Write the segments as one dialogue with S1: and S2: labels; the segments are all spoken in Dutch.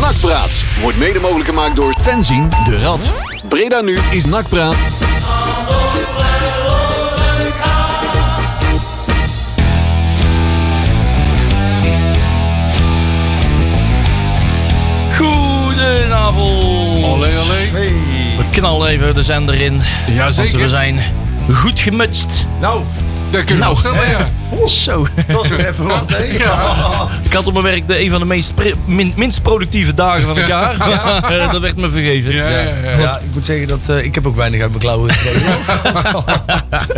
S1: Nakpraat wordt mede mogelijk gemaakt door Fenzin de Rad. Breda nu is Nakpraat.
S2: Goedenavond.
S3: Olé, olé.
S2: We knallen even de zender in.
S3: Ja,
S2: want
S3: zeker.
S2: we zijn goed gemutst.
S4: Nou,
S3: Dat kun je
S2: Nou,
S3: wel stellen, ja.
S2: Zo.
S4: dat was weer even wat, hè?
S3: Ja.
S2: Ik had op mijn werk de, een van de meest pri- min- minst productieve dagen van het jaar. Maar, eh, dat werd me vergeven.
S3: Ja, ja, ja.
S4: Ja, ik moet zeggen dat eh, ik heb ook weinig uit mijn klauwen gekregen.
S2: Ik was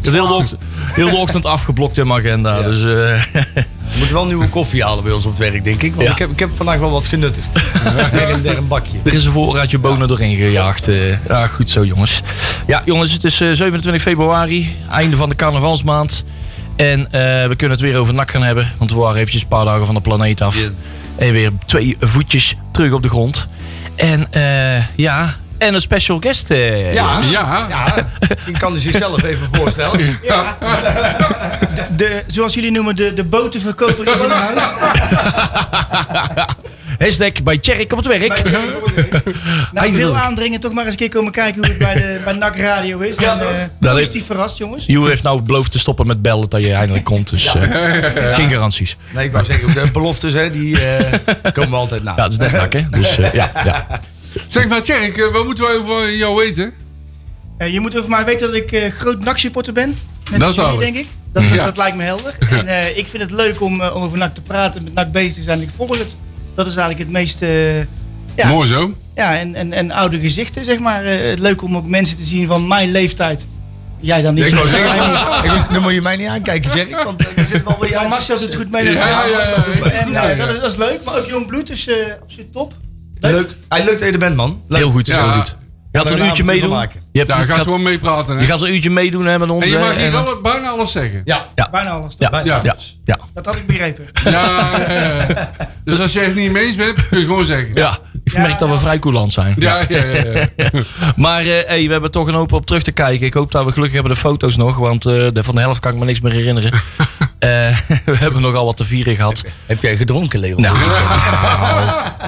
S2: Dus heel de ochtend, heel de ochtend afgeblokt in mijn agenda. Dus, eh,
S4: We moeten wel nieuwe koffie halen bij ons op het werk, denk ik. Want
S2: Ja.
S4: ik, heb, ik heb vandaag wel wat genuttigd. Her en der een bakje.
S2: Er is een voorraadje bonen doorheen gejaagd. eh. ja, goed zo, jongens. Ja, jongens, het is eh, 27 februari, einde van de carnavalsmaand. En eh, we kunnen het weer over nak gaan hebben. Want we waren eventjes een paar dagen van de planeet af.
S4: Yes.
S2: En weer twee voetjes terug op de grond. En eh, ja, en een special guest. eh.
S4: Ja,
S3: Ja.
S4: ja. Ik kan die zichzelf even voorstellen.
S5: De, zoals jullie noemen, de, de botenverkoper is in huis.
S2: Hashtag bij Tjerk op het werk.
S5: Nou, ik wil
S2: Eindelijk.
S5: aandringen, toch maar eens een keer komen kijken hoe het bij, de, bij NAC Radio is.
S4: Ja,
S5: En,
S4: toch?
S5: eh,
S2: Dat
S5: positief
S2: heeft-
S5: verrast, jongens.
S2: Joe heeft nou beloofd te stoppen met bellen dat je eindelijk komt. Dus eh, geen garanties.
S4: Nee, ik wou zeggen, de beloftes, hè, die eh, komen we altijd na.
S2: Ja, het is net nak, hè? Dus eh, ja, ja.
S3: Zeg maar, Tjerk, eh, wat moeten we over jou weten?
S5: Eh, je moet over mij weten dat ik eh, groot NAC-supporter ben. Net
S3: Dat
S5: als
S3: is
S5: jullie,
S3: duidelijk.
S5: denk ik. Dat,
S3: Ja.
S5: dat lijkt me helder. En, eh, ik vind het leuk om, eh, om over NAC te praten, met NAC bezig te zijn. Ik volg het. Dat is eigenlijk het meest... eh, ja,
S3: Mooi zo.
S5: Ja, en, en, en oude gezichten, zeg maar. Eh, het leuk om ook mensen te zien van mijn leeftijd. Jij dan niet.
S4: Ik wou zeggen,
S5: Jij niet.
S4: ik wou- dan moet je mij niet aankijken, Jerry. Want eh, er zit wel weer
S5: Ja,
S4: juist-
S5: Max doet het goed mee.
S3: Ja, ja, ja, ja.
S5: En, eh,
S3: Ja, ja.
S5: Dat, is, dat is leuk, maar ook jong bloed is eh, absoluut top.
S4: Leuk. Hij leuk dat je er bent, man. Leuk.
S2: Heel goed, is
S3: Ja.
S2: heel goed. Je gaat
S4: Daar
S2: een
S4: een
S2: uurtje
S4: avondje
S2: meedoen.
S4: van maken.
S2: Je, hebt,
S3: Daar
S2: je
S3: gaat
S2: gaat,
S3: gewoon mee praten,
S2: je
S3: hè?
S2: gaat een uurtje meedoen hè, met ons.
S3: En je
S2: hè,
S3: mag hier
S2: en-
S3: wel bijna alles zeggen.
S4: Ja,
S5: Bijna alles.
S2: Ja.
S5: toch?
S2: Ja,
S4: bijna.
S2: ja, ja.
S5: Dat had ik begrepen.
S3: Ja, ja, ja. Nou, Dus als je het niet mee eens bent, kun je gewoon zeggen.
S2: Ja, ik merk
S5: Ja,
S2: dat we
S5: ja.
S2: vrij coulant zijn.
S3: Ja, ja, ja. ja.
S2: Maar eh, hey, we hebben toch een hoop op terug te kijken. Ik hoop dat we gelukkig hebben de foto's nog, want eh, de- van de helft kan ik me niks meer herinneren. Eh, we hebben nogal wat te vieren gehad.
S4: Heb jij gedronken, Leon?
S2: Nou,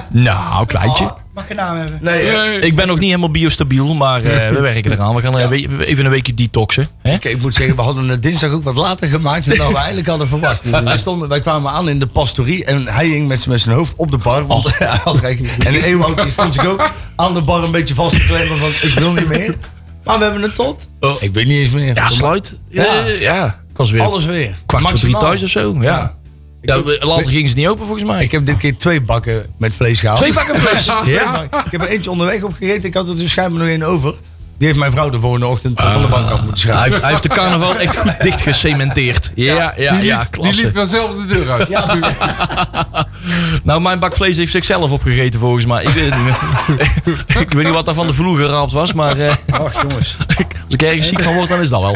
S2: nou kleintje.
S5: Mag je naam hebben?
S4: Nee, eh,
S3: Ah, Nee.
S2: Ik ben nog niet helemaal biostabiel, maar eh, we werken eraan. We gaan eh, we- even een weekje detoxen. Hè?
S4: Ik, ik moet zeggen, we hadden het dinsdag ook wat later gemaakt dan we eigenlijk hadden verwacht. Wij, stonden, wij kwamen aan in de pastorie en hij hing met, z'n- met zijn hoofd op de bar. Want,
S2: Oh.
S4: hij had er eigenlijk- en Ewout die stond zich ook aan de bar een beetje vast te klemmen van ik wil niet meer. Maar we hebben het tot. Ik weet niet eens meer.
S2: Oh. Ja, sluit.
S4: Ja.
S2: Eh, ja, ik was weer
S4: Alles weer.
S2: kwart voor drie
S4: Maximaal.
S2: thuis of zo. Ja.
S4: Ja.
S2: Ja, later gingen ze niet open volgens mij.
S4: Ik heb dit keer twee bakken met vlees gehaald.
S2: Twee pakken vlees. Ja.
S4: Ik heb er eentje onderweg opgegeten. Ik had er dus schijnbaar nog één over. Die heeft mijn vrouw de volgende ochtend eh, van de bank af moeten
S2: Hij
S4: schuiven.
S2: heeft, hij heeft de carnaval echt goed dicht gecementeerd. Ja, ja,
S3: Die liep,
S2: ja,
S3: die
S2: klasse.
S3: liep wel zelf de deur uit.
S2: Nou, mijn bak vlees heeft zichzelf opgegeten volgens mij. Ik weet het niet meer. Ik weet niet wat daar van de vloer geraapt was, maar eh,
S4: Ach jongens.
S2: als ik ergens ziek van word, dan is dat wel.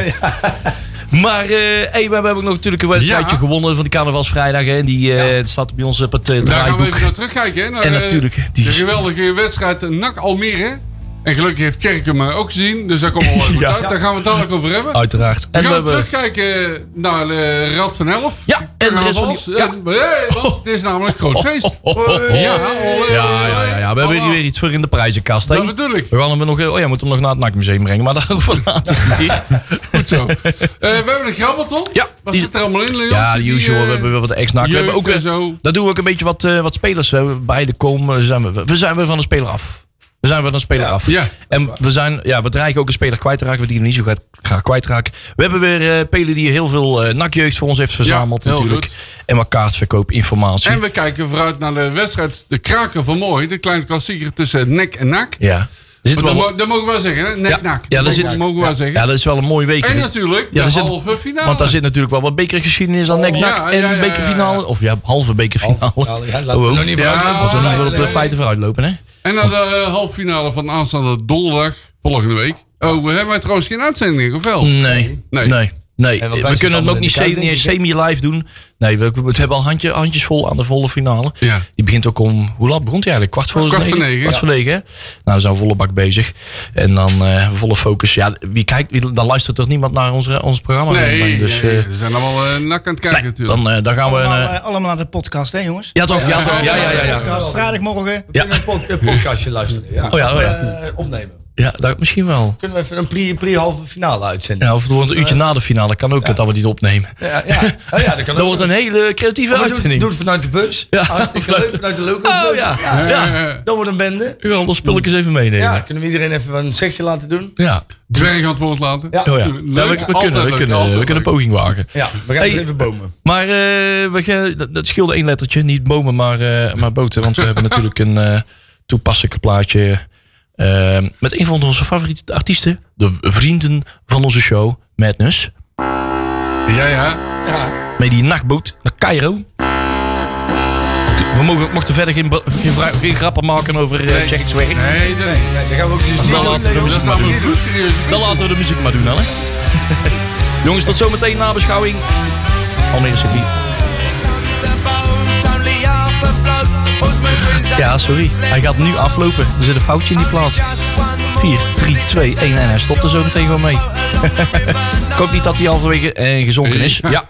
S2: Maar eh, hey, we hebben ook nog natuurlijk een wedstrijdje
S3: Ja.
S2: gewonnen van de carnavalsvrijdag. Hè. Die eh, staat bij ons op het eh,
S3: Daar gaan we even
S2: draaiboek.
S3: naar terugkijken. Hè, naar,
S2: En
S3: eh,
S2: natuurlijk die-
S3: de geweldige wedstrijd NAC Almere. En gelukkig heeft Tjerk hem eh, ook gezien. Dus daar komt wel even goed
S2: Ja.
S3: uit. Daar gaan we het dadelijk over hebben.
S2: Uiteraard.
S3: We
S2: En we
S3: gaan
S2: hebben...
S3: terugkijken naar de Rad van Elf.
S2: Ja, en de rest van die- ja.
S3: En- hey, want het is namelijk een groot feest.
S2: Oh, oh, oh.
S3: Ja,
S2: Ja,
S3: olé,
S2: ja, ja, ja. We hebben hier
S3: Voilà.
S2: weer iets voor in de prijzenkast. hè.
S3: Dat bedoel ik.
S2: We gaan hem nog, oh ja, moeten hem nog naar het NAC-museum brengen, maar daarover later niet.
S3: Goed zo. Eh, we hebben een grabbelton.
S2: Ja.
S3: Wat zit er allemaal in, Leon?
S2: Ja,
S3: Zit
S2: de
S3: die,
S2: usual.
S3: eh,
S2: we hebben weer wat ex-nak. We hebben ook
S3: jeugd
S2: weer,
S3: en zo.
S2: Daar doen we ook een beetje wat, eh, wat spelers eh, bij de komen. eh, Zijn we, we zijn weer van een speler af. We zijn weer van een speler af.
S3: Ja, dat
S2: en we, zijn, ja, we dreigen ook een speler kwijt te raken. We die hem niet zo gaat, graag kwijtraken. We hebben weer eh Pelen die heel veel eh nakjeugd voor ons heeft verzameld
S3: heel
S2: natuurlijk.
S3: goed.
S2: En wat kaartverkoopinformatie.
S3: En we kijken vooruit naar de wedstrijd De Kraken van Mooi. De kleine klassieker tussen NEC en NAC.
S2: ja. Er zit
S3: Dat,
S2: wel,
S3: mo- dat mogen we wel zeggen, hè? NEC,
S2: ja,
S3: NAC.
S2: ja, daar
S3: dat
S2: zit,
S3: mogen we wel zeggen.
S2: ja, dat is wel een mooie week.
S3: en
S2: Dus-
S3: natuurlijk
S2: Ja,
S3: de
S2: er zit-
S3: halve finale.
S2: Want daar zit natuurlijk wel wat bekergeschiedenis aan. Nek,
S3: ja,
S2: nak
S3: Nou, Oh, ja,
S2: en
S3: ja, ja,
S2: bekerfinale.
S3: ja.
S2: Of ja, halve bekerfinale.
S4: Halve finale, ja, laten we
S2: Oh,
S4: nog niet
S3: vooruitlopen.
S2: ja, Want we
S3: Nee,
S2: moeten wel op de
S3: nee.
S2: feiten vooruit lopen, hè?
S3: En naar de eh, halve finale van aanstaande donderdag, volgende week. Oh, we hebben wij trouwens geen uitzending, of wel?
S2: Nee. Nee.
S3: Nee.
S2: nee.
S4: En wat
S2: we
S4: wij zitten
S2: kunnen het
S4: allemaal
S2: ook
S4: in
S2: niet
S4: de kuip,
S2: semi-
S4: denk ik, hè?
S2: semi-live doen. Nee, we, we hebben al handje, handjes vol aan de volle finale.
S3: Ja.
S2: Die begint ook om... Hoe laat begon hij eigenlijk? Kwart voor
S3: Kwart voor negen,
S2: Kwart
S3: ja.
S2: voor negen, hè? Nou, we zijn volle bak bezig. En dan eh, volle focus. Ja, wie kijkt, wie, dan luistert toch niemand naar ons, ons programma?
S3: Nee,
S2: dus,
S3: nee,
S2: eh,
S3: we zijn allemaal eh, nak aan het kijken
S2: nee,
S3: natuurlijk.
S2: dan, eh, dan gaan we...
S5: Allemaal,
S2: een, eh,
S5: eh, allemaal naar de podcast, hè jongens?
S2: ja, toch? Ja, toch? Ja, ja, ja. ja.
S5: Podcast, vrijdagmorgen.
S2: Ja.
S4: Kunnen we een pod- een podcastje luisteren? Ja.
S2: Oh ja, oh ja.
S4: Eh, opnemen.
S2: Ja, dat misschien wel.
S4: Kunnen we even een pre- pre-halve finale uitzenden?
S2: Ja, of het wordt een uurtje na de finale. Kan ook dat we dit opnemen.
S4: Ja, ja. Oh ja, dat kan
S2: Dat wordt een hele creatieve
S4: Of we doen-
S2: uitzending.
S4: Doe het vanuit de bus.
S2: Ja,
S4: Hartstikke
S2: vanuit
S4: leuk,
S2: de-
S4: vanuit de locals
S2: Oh,
S4: bus.
S2: ja.
S3: Eh,
S4: Dan wordt een bende.
S2: U al dat spulletjes even meenemen.
S4: Ja,
S2: Ja.
S4: kunnen we iedereen even een zegje laten doen?
S3: Dwerg aan het woord laten.
S4: Ja.
S2: Oh ja.
S3: Leuk,
S2: Ja, we, we
S3: altijd
S2: kunnen, we,
S3: leuk,
S2: kunnen,
S3: altijd
S2: we kunnen een
S3: leuk.
S2: poging wagen.
S4: Ja, we gaan
S2: Hey.
S4: eens even bomen.
S2: Maar eh, we gaan, dat, dat scheelde één lettertje. Niet bomen, maar, eh, maar boten. Want we hebben natuurlijk een eh, toepasselijk plaatje. eh, met een van onze favoriete artiesten. De vrienden van onze show, Madness.
S3: Ja, ja.
S4: Ja,
S2: Met die nachtboot naar Cairo. We mogen, mochten verder geen, bo- geen, vra- geen grappen maken over eh Jack's werk.
S3: Nee, nee.
S4: ja, dan gaan we ook eens
S2: Dan laten we de
S3: Dat
S2: muziek
S3: is
S2: maar doen.
S3: namelijk goed serieus.
S2: Dan laten we de muziek maar doen, hè? Jongens, tot zometeen na beschouwing. Oh, Almere City. Ja, sorry. Hij gaat nu aflopen. Er zit een foutje in die plaat. 4, 3, 2, 1 en hij stopt er zo meteen gewoon mee. Ik hoop niet dat hij halverwege eh, gezonken is. Ja.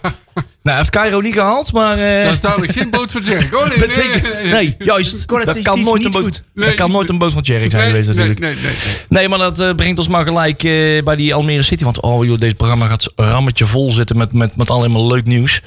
S2: Nou, hij heeft Cairo niet gehaald, maar... eh,
S3: Dat is duidelijk geen boot voor Jack. Oh, nee, nee,
S2: betekent-
S3: nee, nee.
S2: Nee, juist. Dat
S5: Kwalitatief
S2: kan nooit een
S5: niet
S2: boot,
S5: goed.
S2: dat kan nooit een boot van Jerry zijn
S3: Nee,
S2: geweest natuurlijk.
S3: Nee, nee, nee.
S2: Nee, maar dat eh, brengt ons maar gelijk eh, bij die Almere City. Want oh joh, dit programma gaat zo- rammetje vol zitten met, met, met alleen maar leuk nieuws.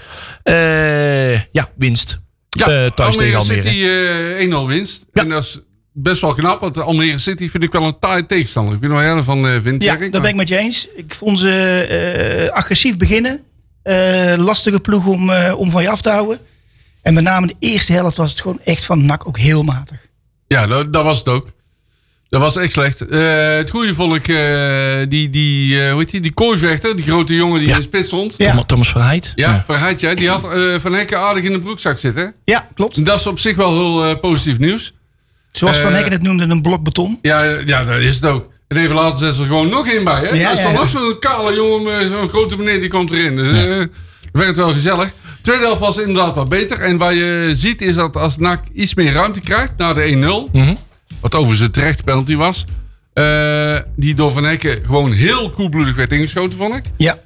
S2: Eh, ja, winst.
S3: Ja,
S2: Eh, thuis tegen Almere.
S3: City eh 1-0 winst.
S2: Ja.
S3: En dat is best wel knap, want Almere City vind ik wel een taai tegenstander. Ik ben wel heel van eh vind
S5: Ja,
S3: Jack.
S5: daar ben ik met je eens. Ik vond ze eh, agressief beginnen. Eh, lastige ploeg om, eh, om van je af te houden. En met name de eerste helft was het gewoon echt van NAC ook heel matig.
S3: Ja, dat, dat was het ook. Dat was echt slecht. Eh, het goede vond ik eh, die, die, eh, hoe heet die, die kooivechter, die grote jongen die
S2: Ja.
S3: in de spits stond. Ja,
S5: Ja.
S2: Thomas, Thomas Verheid.
S3: verheid jij. Die had eh, Van Hekken aardig in de broekzak zitten. Dus
S5: Ja, klopt.
S3: Dat is op zich wel heel eh, positief nieuws.
S5: Zoals Van
S3: Eh,
S5: Hekken het noemde, een blok beton.
S3: Ja, eh, ja, dat is het ook. En even later zet ze er gewoon nog één bij. Hè?
S5: Ja,
S3: Daar
S5: ja,
S3: stond
S5: ja.
S3: ook zo'n kale jongen, eh, zo'n grote meneer, die komt erin. Dus eh, werd wel gezellig. Tweede helft was inderdaad wat beter. En wat je ziet is dat als NAC iets meer ruimte krijgt na de 1-0...
S5: Mhm.
S3: wat overigens een terecht penalty was... eh, die door Van Hekken gewoon heel koelbloedig werd ingeschoten, vond ik.
S5: Ja.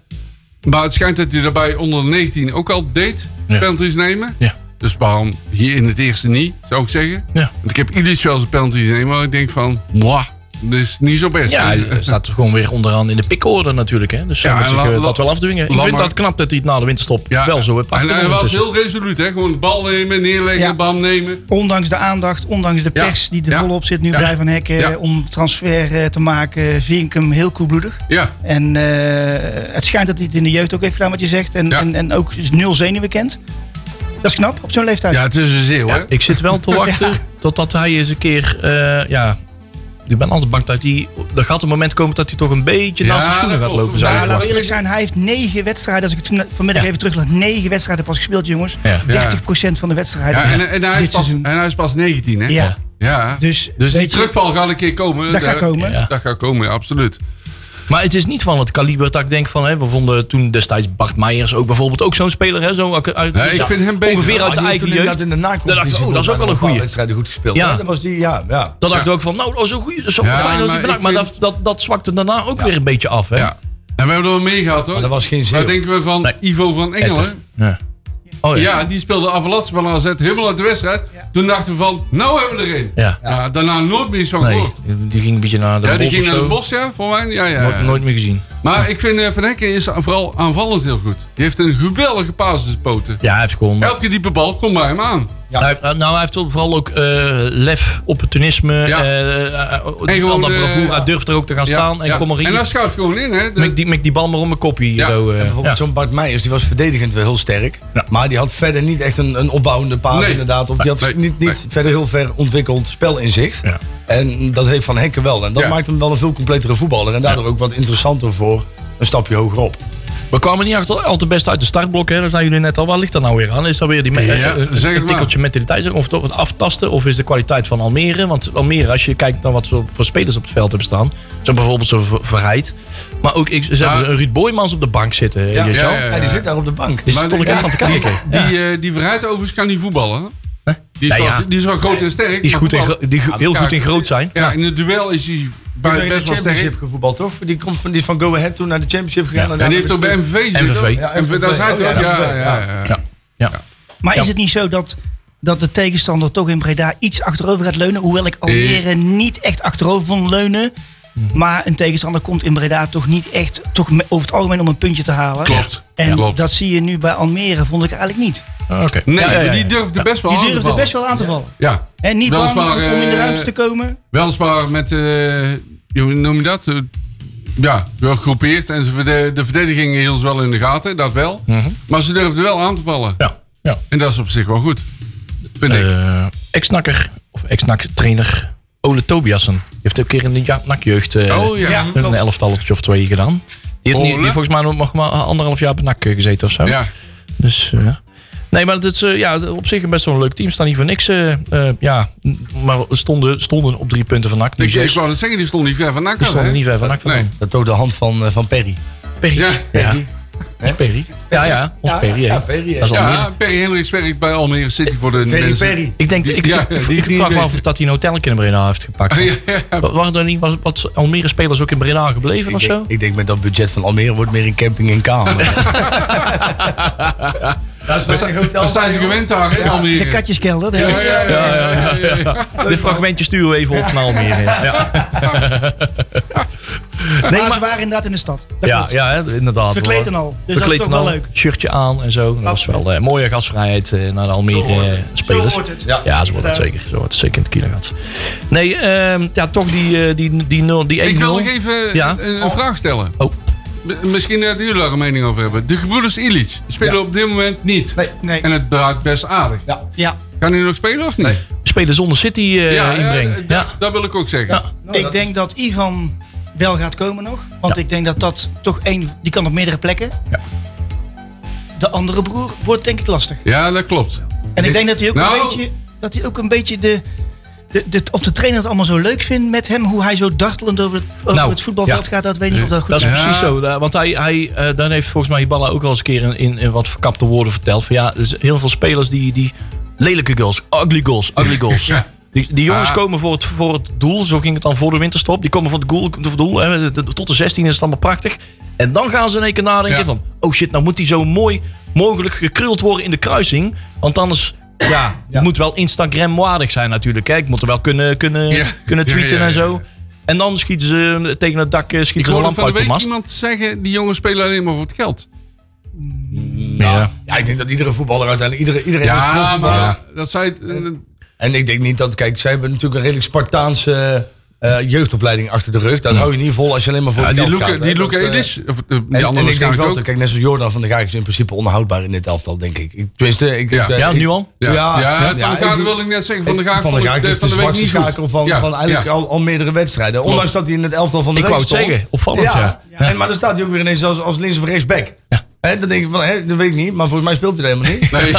S3: Maar het schijnt dat hij daarbij onder de 19 ook al deed.
S2: Ja.
S3: Penalties nemen.
S2: Ja.
S3: Dus waarom hier in het eerste niet, zou ik zeggen.
S2: Ja.
S3: Want ik heb ieders wel eens een penalty nemen, maar ik denk van, mwah, dat is niet zo best.
S2: Ja,
S3: Eh,
S2: hij staat gewoon weer onderaan in de pikorde natuurlijk. Hè? Dus hij
S3: Ja,
S2: moet
S3: en
S2: zich,
S3: la-
S2: eh,
S3: la-
S2: dat wel afdwingen. Ik
S3: la-
S2: vind
S3: maar-
S2: dat knap dat hij het na de winterstop
S3: ja.
S2: wel zo heeft
S3: En hij
S2: afgedwongen
S3: was
S2: intussen.
S3: heel resoluut, hè? Gewoon de bal nemen, neerleggen,
S5: Ja.
S3: bam nemen.
S5: Ondanks de aandacht, ondanks de
S3: Ja.
S5: pers die er
S3: Ja.
S5: volop zit nu
S3: Ja.
S5: bij Van Hekken
S3: Ja.
S5: om transfer eh, te maken, vind ik hem heel koelbloedig.
S3: Ja,
S5: En eh, het schijnt dat hij het in de jeugd ook heeft gedaan wat je zegt. En,
S3: Ja.
S5: en, en ook nul zenuwen kent. Dat is knap op zo'n leeftijd.
S3: ja het is een zeeuw, hè?
S2: Ja, ik zit wel te wachten totdat hij eens een keer... eh, ja, ik ben altijd bang dat hij... Er gaat een moment komen dat hij toch een beetje
S3: Ja,
S2: naast zijn schoenen
S3: dat
S2: gaat
S3: klopt.
S2: lopen. Zou
S3: Ja,
S2: ik
S5: Nou, laten we
S2: verwachten.
S5: eerlijk zijn, hij heeft negen wedstrijden. Als ik het van- vanmiddag
S2: Ja.
S5: even terug laat, negen wedstrijden pas gespeeld, jongens.
S2: Ja.
S5: 30% van de wedstrijden.
S3: Ja, en, en, hij is
S5: dit
S3: pas, en
S5: seizoen.
S3: hij is pas 19, hè?
S5: Ja.
S3: Ja.
S5: Dus,
S3: Dus eh, die
S5: weet je,
S3: terugval gaat een keer komen.
S5: Dat gaat komen.
S2: Ja.
S3: Dat gaat komen, ja, absoluut.
S2: Maar het is niet van het kaliber dat ik denk van... Hè, we vonden toen destijds Bart Meijers ook bijvoorbeeld ook zo'n speler. Hè, zo uit, uit-
S3: Nee, ik
S2: ja,
S3: vind hem beter.
S2: Ongeveer uit de
S4: Ah, die heeft
S2: eigen
S4: toen inderdaad
S2: jeugd.
S4: In de nacompetitie
S2: Daar dacht ik, oh, dat is ook wel een
S4: nog
S2: goeie.
S4: wedstrijden goed gespeeld.
S2: Ja.
S4: Ja. Dat was die, ja. ja.
S2: Dan dachten we ook van, nou, dat is een goeie, dat is ook
S3: Ja,
S2: fijn als
S3: maar
S2: hij bedankt. Maar
S3: ik vind-
S2: dat, dat, dat zwakte daarna ook weer een beetje af. Hè?
S3: Ja. En we hebben er wel mee gehad, hoor.
S4: Maar dat was geen
S3: Wat
S4: zin.
S3: denken we van
S2: Nee.
S3: Ivo van Engelen?
S2: Ja. Oh, ja.
S3: Ja, die speelde aflast van AZ helemaal uit de wedstrijd. Toen dachten we van, nou hebben we er een.
S2: Ja.
S3: Ja, daarna nooit meer iets van
S2: Nee,
S3: gehoord.
S2: die ging een beetje naar de
S3: Ja, die
S2: bos
S3: ging
S2: of
S3: naar
S2: zo.
S3: het bos, ja, voor mij. Ja, ja,
S2: Nooit,
S3: ja.
S2: nooit meer gezien.
S3: Maar ik vind eh, Van Hekken is vooral aanvallend heel goed. Die heeft een geweldige basispoten.
S2: Ja, hij heeft gewoon...
S3: Elke diepe bal komt bij hem aan.
S4: Ja.
S2: Hij heeft- eh, nou, hij heeft ook vooral ook eh, lef, opportunisme. eh
S3: Ja.
S2: eh, eh, al
S3: gewoon,
S2: dat
S3: eh,
S2: bravoure. Hij durft er ook te gaan staan. En
S3: ja.
S2: kom maar
S3: en
S2: in.
S3: dan schuift gewoon in, hè. De-
S2: Mek die, mek die bal maar om mijn kopie.
S3: Eh, Ja.
S2: Zo, eh.
S4: En bijvoorbeeld
S2: Ja.
S4: zo'n Bart Meijers, die was verdedigend wel heel sterk.
S2: Ja.
S4: Maar die had verder niet echt een, een opbouwende paas
S3: Nee.
S4: inderdaad. Of die had
S3: Nee,
S4: niet, niet
S3: nee.
S4: verder heel ver ontwikkeld spelinzicht.
S2: Ja.
S4: En dat heeft Van Hekken wel. En dat
S3: Ja.
S4: maakt hem wel een veel completere voetballer. En daardoor ook wat interessanter voor een stapje hogerop.
S2: We kwamen niet achter, al te best uit de startblok. Hè. Daar zijn jullie net al. Waar ligt dat nou weer aan? Is dat weer die me-
S3: Ja,
S2: eh, een,
S3: zeg het
S2: een
S3: maar.
S2: tikkeltje mentaliteit? Of toch het aftasten? Of is de kwaliteit van Almere? Want Almere, als je kijkt naar wat ze voor spelers op het veld hebben staan. Zo bijvoorbeeld zo'n Ver- Verheid. Maar ook ik, ze
S3: Ja.
S2: hebben Ruud Boymans op de bank zitten. Ja,
S4: Ja,
S3: ja, ja,
S4: ja, die zit daar op de bank.
S2: Dus
S3: Eh, Maar
S2: stond ik
S3: die-
S2: echt aan te kijken.
S3: Die, eh die Verheid overigens kan niet voetballen. hè.
S2: Hè?
S3: Die is,
S2: Nou ja.
S3: wel, die is wel groot en sterk.
S2: Die is
S3: maar
S2: goed in
S3: voetbal-
S2: gro- die go-
S3: Ja,
S2: heel goed in
S3: elkaar-
S2: groot zijn.
S3: Ja, in het duel is hij
S4: Hij
S3: bij-
S4: heeft
S3: best
S4: de
S3: wel
S4: championship
S3: sterk.
S4: gevoetbald, toch? Die, komt van, die is van Go Ahead toen naar de championship gegaan.
S3: En die heeft ook
S4: daarna
S3: bij MVV gezeten.
S2: MVV.
S3: toch?
S4: Ja,
S3: En
S4: MVV.
S3: Daar is hij
S4: Oh,
S3: toch?
S4: ja,
S3: Ja, ja,
S4: MVV,
S3: ja.
S2: Ja. ja.
S5: Maar
S2: Ja.
S5: is het niet zo dat, dat de tegenstander toch in Breda iets achterover gaat leunen? Hoewel ik
S3: Eh.
S5: Almere niet echt achterover vond leunen.
S3: Mhm.
S5: Maar een tegenstander komt in Breda toch niet echt, toch me- over het algemeen om een puntje te halen.
S3: Klopt.
S5: En
S3: Klopt.
S5: dat zie je nu bij Almere, vond ik eigenlijk niet.
S2: Ah, Oké.
S3: Nee,
S2: Ja, ja, ja,
S3: maar die
S2: ja.
S3: durfde best wel
S5: Die
S3: aan te
S5: durfde
S3: vallen.
S5: best wel aan te vallen.
S3: Ja.
S5: En niet bang om
S3: Weliswaar,
S5: in de
S3: eh,
S5: ruimte te komen.
S3: Weliswaar met, eh, hoe noem je dat? Eh, ja, wel gegroepeerd. En ze verde- de verdediging hield ze wel in de gaten, dat wel.
S2: Mhm.
S3: Maar ze durfden wel aan te vallen.
S2: Ja. ja.
S3: En dat is op zich wel goed. Vind ik.
S2: Eh, ex-nakker of ex-nak-trainer Ole Tobiasen. Die heeft ook een keer in de ja- NAC-jeugd eh,
S3: Oh, ja. Ja,
S2: een elftalletje of twee gedaan. Die heeft, niet, die
S3: Ole?
S2: heeft volgens mij nog maar- maar anderhalf jaar bij NAC eh, gezeten of zo.
S3: Ja.
S2: Dus, eh, nee, maar het is eh, ja, op zich best wel een leuk team. Staan niet voor niks. eh, eh, ja, maar stonden, stonden op drie punten van NAC. Nu
S3: Ik, ik
S2: zes.
S3: wou net zeggen, die stond niet ver van NAC
S2: Die
S3: af, hè?
S2: stonden niet ver van NAC vandaan.
S3: Nee.
S4: Dat is ook de hand van, eh, van Perry.
S2: Perry.
S3: Ja.
S2: Ja. Ons Perry. Ja, ja. Ons
S4: Ja,
S2: Perry. hè.
S4: ja, Perry, hè.
S2: Dat is al
S3: Ja, Perry Hendricks werkt bij Almere City voor de
S4: Ferry
S3: mensen.
S4: Perry.
S2: Ik denk, ik,
S3: ja,
S2: ik-
S3: die-
S2: ik
S3: die
S2: vraag me
S3: weet
S2: af of
S3: ik.
S2: dat hij een hotelken in Breda heeft gepakt.
S3: Ja,
S2: Want-
S3: ja.
S2: wa- Waren er niet wat, wat Almere spelers ook in Breda gebleven
S4: Ik
S2: of zo?
S4: denk, ik denk met dat budget van Almere wordt meer een camping en kamer. dat is
S3: Dat zijn ze gewend daar hè, in Almere.
S5: De katjeskelder. de-
S3: Ja, ja, ja, ja, ja, ja, ja.
S2: Dit fragmentje sturen we even op naar Almere. Ja, ja,
S5: maar ze waren inderdaad in de stad. Dat
S2: ja,
S5: klopt.
S2: hè, inderdaad.
S5: Verkleed
S2: hoor.
S5: en al. Dus
S2: Verkleed
S5: dat is
S2: en
S5: toch
S2: al,
S5: wel leuk. Oh.
S2: Shirtje aan en zo. Dat was wel eh, mooie gastvrijheid eh, naar de
S5: Zo hoort
S2: Almere eh,
S5: het.
S2: spelers.
S5: Zo hoort het.
S2: Ja, zo wordt het zeker. Zo wordt het zeker in het kilo gaat. Nee, ehm, ja, toch die, eh, die, die, nul- die 1-0.
S3: Ik wil nog even
S2: Ja.
S3: een, een vraag stellen.
S2: Oh.
S3: M- Misschien dat jullie daar een mening over hebben. De gebroeders Illich spelen op dit moment niet.
S4: Nee.
S5: Nee.
S3: En het draait best aardig.
S5: Ja.
S3: Gaan jullie nog spelen of niet?
S2: Spelen zonder City eh,
S3: d-
S2: inbrengen.
S3: d-
S2: Ja.
S3: dat wil ik ook zeggen.
S2: Ja.
S5: ik denk dat Ivan wel gaat komen nog. Want ik denk dat dat toch één... Die kan op meerdere plekken.
S2: Ja.
S5: De andere broer wordt denk ik lastig.
S3: Ja, dat klopt.
S5: En ik denk dat hij ook
S3: Nou.
S5: een beetje... Dat hij ook een beetje de... De, de, of de trainer het allemaal zo leuk vindt met hem, hoe hij zo dartelend over het, over
S2: Nou,
S5: het voetbalveld
S2: ja.
S5: gaat, dat weet ik niet of dat goed
S2: Dat
S5: is.
S2: is
S3: Ja.
S2: precies zo. Da- Want hij, hij eh, dan heeft volgens mij Hiballa ook al eens een keer in, in, in wat verkapte woorden verteld. Van ja, er zijn heel veel spelers die, die lelijke goals, ugly goals, ugly goals.
S3: Ja.
S2: Die, die jongens
S3: Ah.
S2: komen voor het, voor het doel, zo ging het dan voor de winterstop. Die komen voor het goal, voor het doel hè, de- de- tot de 16 is het allemaal prachtig. En dan gaan ze in één keer nadenken
S3: Ja.
S2: van, oh shit, nou moet die zo mooi mogelijk gekruld worden in de kruising. Want anders, ja,
S4: Ja.
S2: moet wel Instagram-waardig zijn natuurlijk. Hè. Ik moet er wel kunnen, kunnen,
S3: Ja.
S2: kunnen
S3: Ja,
S2: tweeten
S3: ja, ja,
S2: en zo. En dan schieten ze tegen het dak, eh,
S3: Ik
S2: schieten ze een
S3: hoorde
S2: lamp uit
S3: van de
S2: de
S3: week
S2: mast.
S3: iemand zeggen, die jongens spelen alleen maar voor het geld.
S2: Ja.
S4: Ja, ik denk dat iedere voetballer uiteindelijk... Iedere, iedereen is
S3: Ja,
S4: profvoetballer.
S3: maar Dus dat zei... het, eh,
S4: En ik denk niet dat... Kijk, zij hebben natuurlijk een redelijk Spartaanse eh, jeugdopleiding achter de rug. Dat hou je niet vol als je alleen maar voor
S3: ja,
S4: het
S3: die
S4: geld
S3: Luca,
S4: gaat. hè.
S3: die
S4: Dat,
S3: Luca
S4: eh,
S3: Illich, of eh,
S4: En, en
S3: die andere
S4: ik denk
S3: waarschijnlijk
S4: wel,
S3: ook.
S4: dat- kijk, net zoals Jordan van der Gaag is in principe onhoudbaar in dit elftal, denk ik. ik tenminste, ik,
S3: Ja.
S4: ik-
S2: Ja,
S4: ik-
S2: nu al?
S3: Ja, ja,
S4: ja,
S3: van de
S4: ja,
S3: Gaag
S4: ik-
S3: wil ik net zeggen. Van de
S4: van
S3: Gaag vond
S4: der
S3: ik
S4: Gaag
S3: de-
S4: is de,
S3: van de week
S4: zwakste
S3: niet goed.
S4: schakel van,
S3: Ja,
S4: van eigenlijk
S3: ja.
S4: al, al meerdere wedstrijden. Ondanks dat hij in het elftal van de
S2: Ik
S4: week
S2: wou het
S4: stond.
S2: zeggen, opvallend, ja.
S4: En, maar dan staat hij ook weer ineens als, als links of rechtsback.
S2: Ja.
S4: Hè, dan denk ik van, hè, dat weet ik niet, maar volgens mij speelt hij er helemaal niet.
S3: Nee.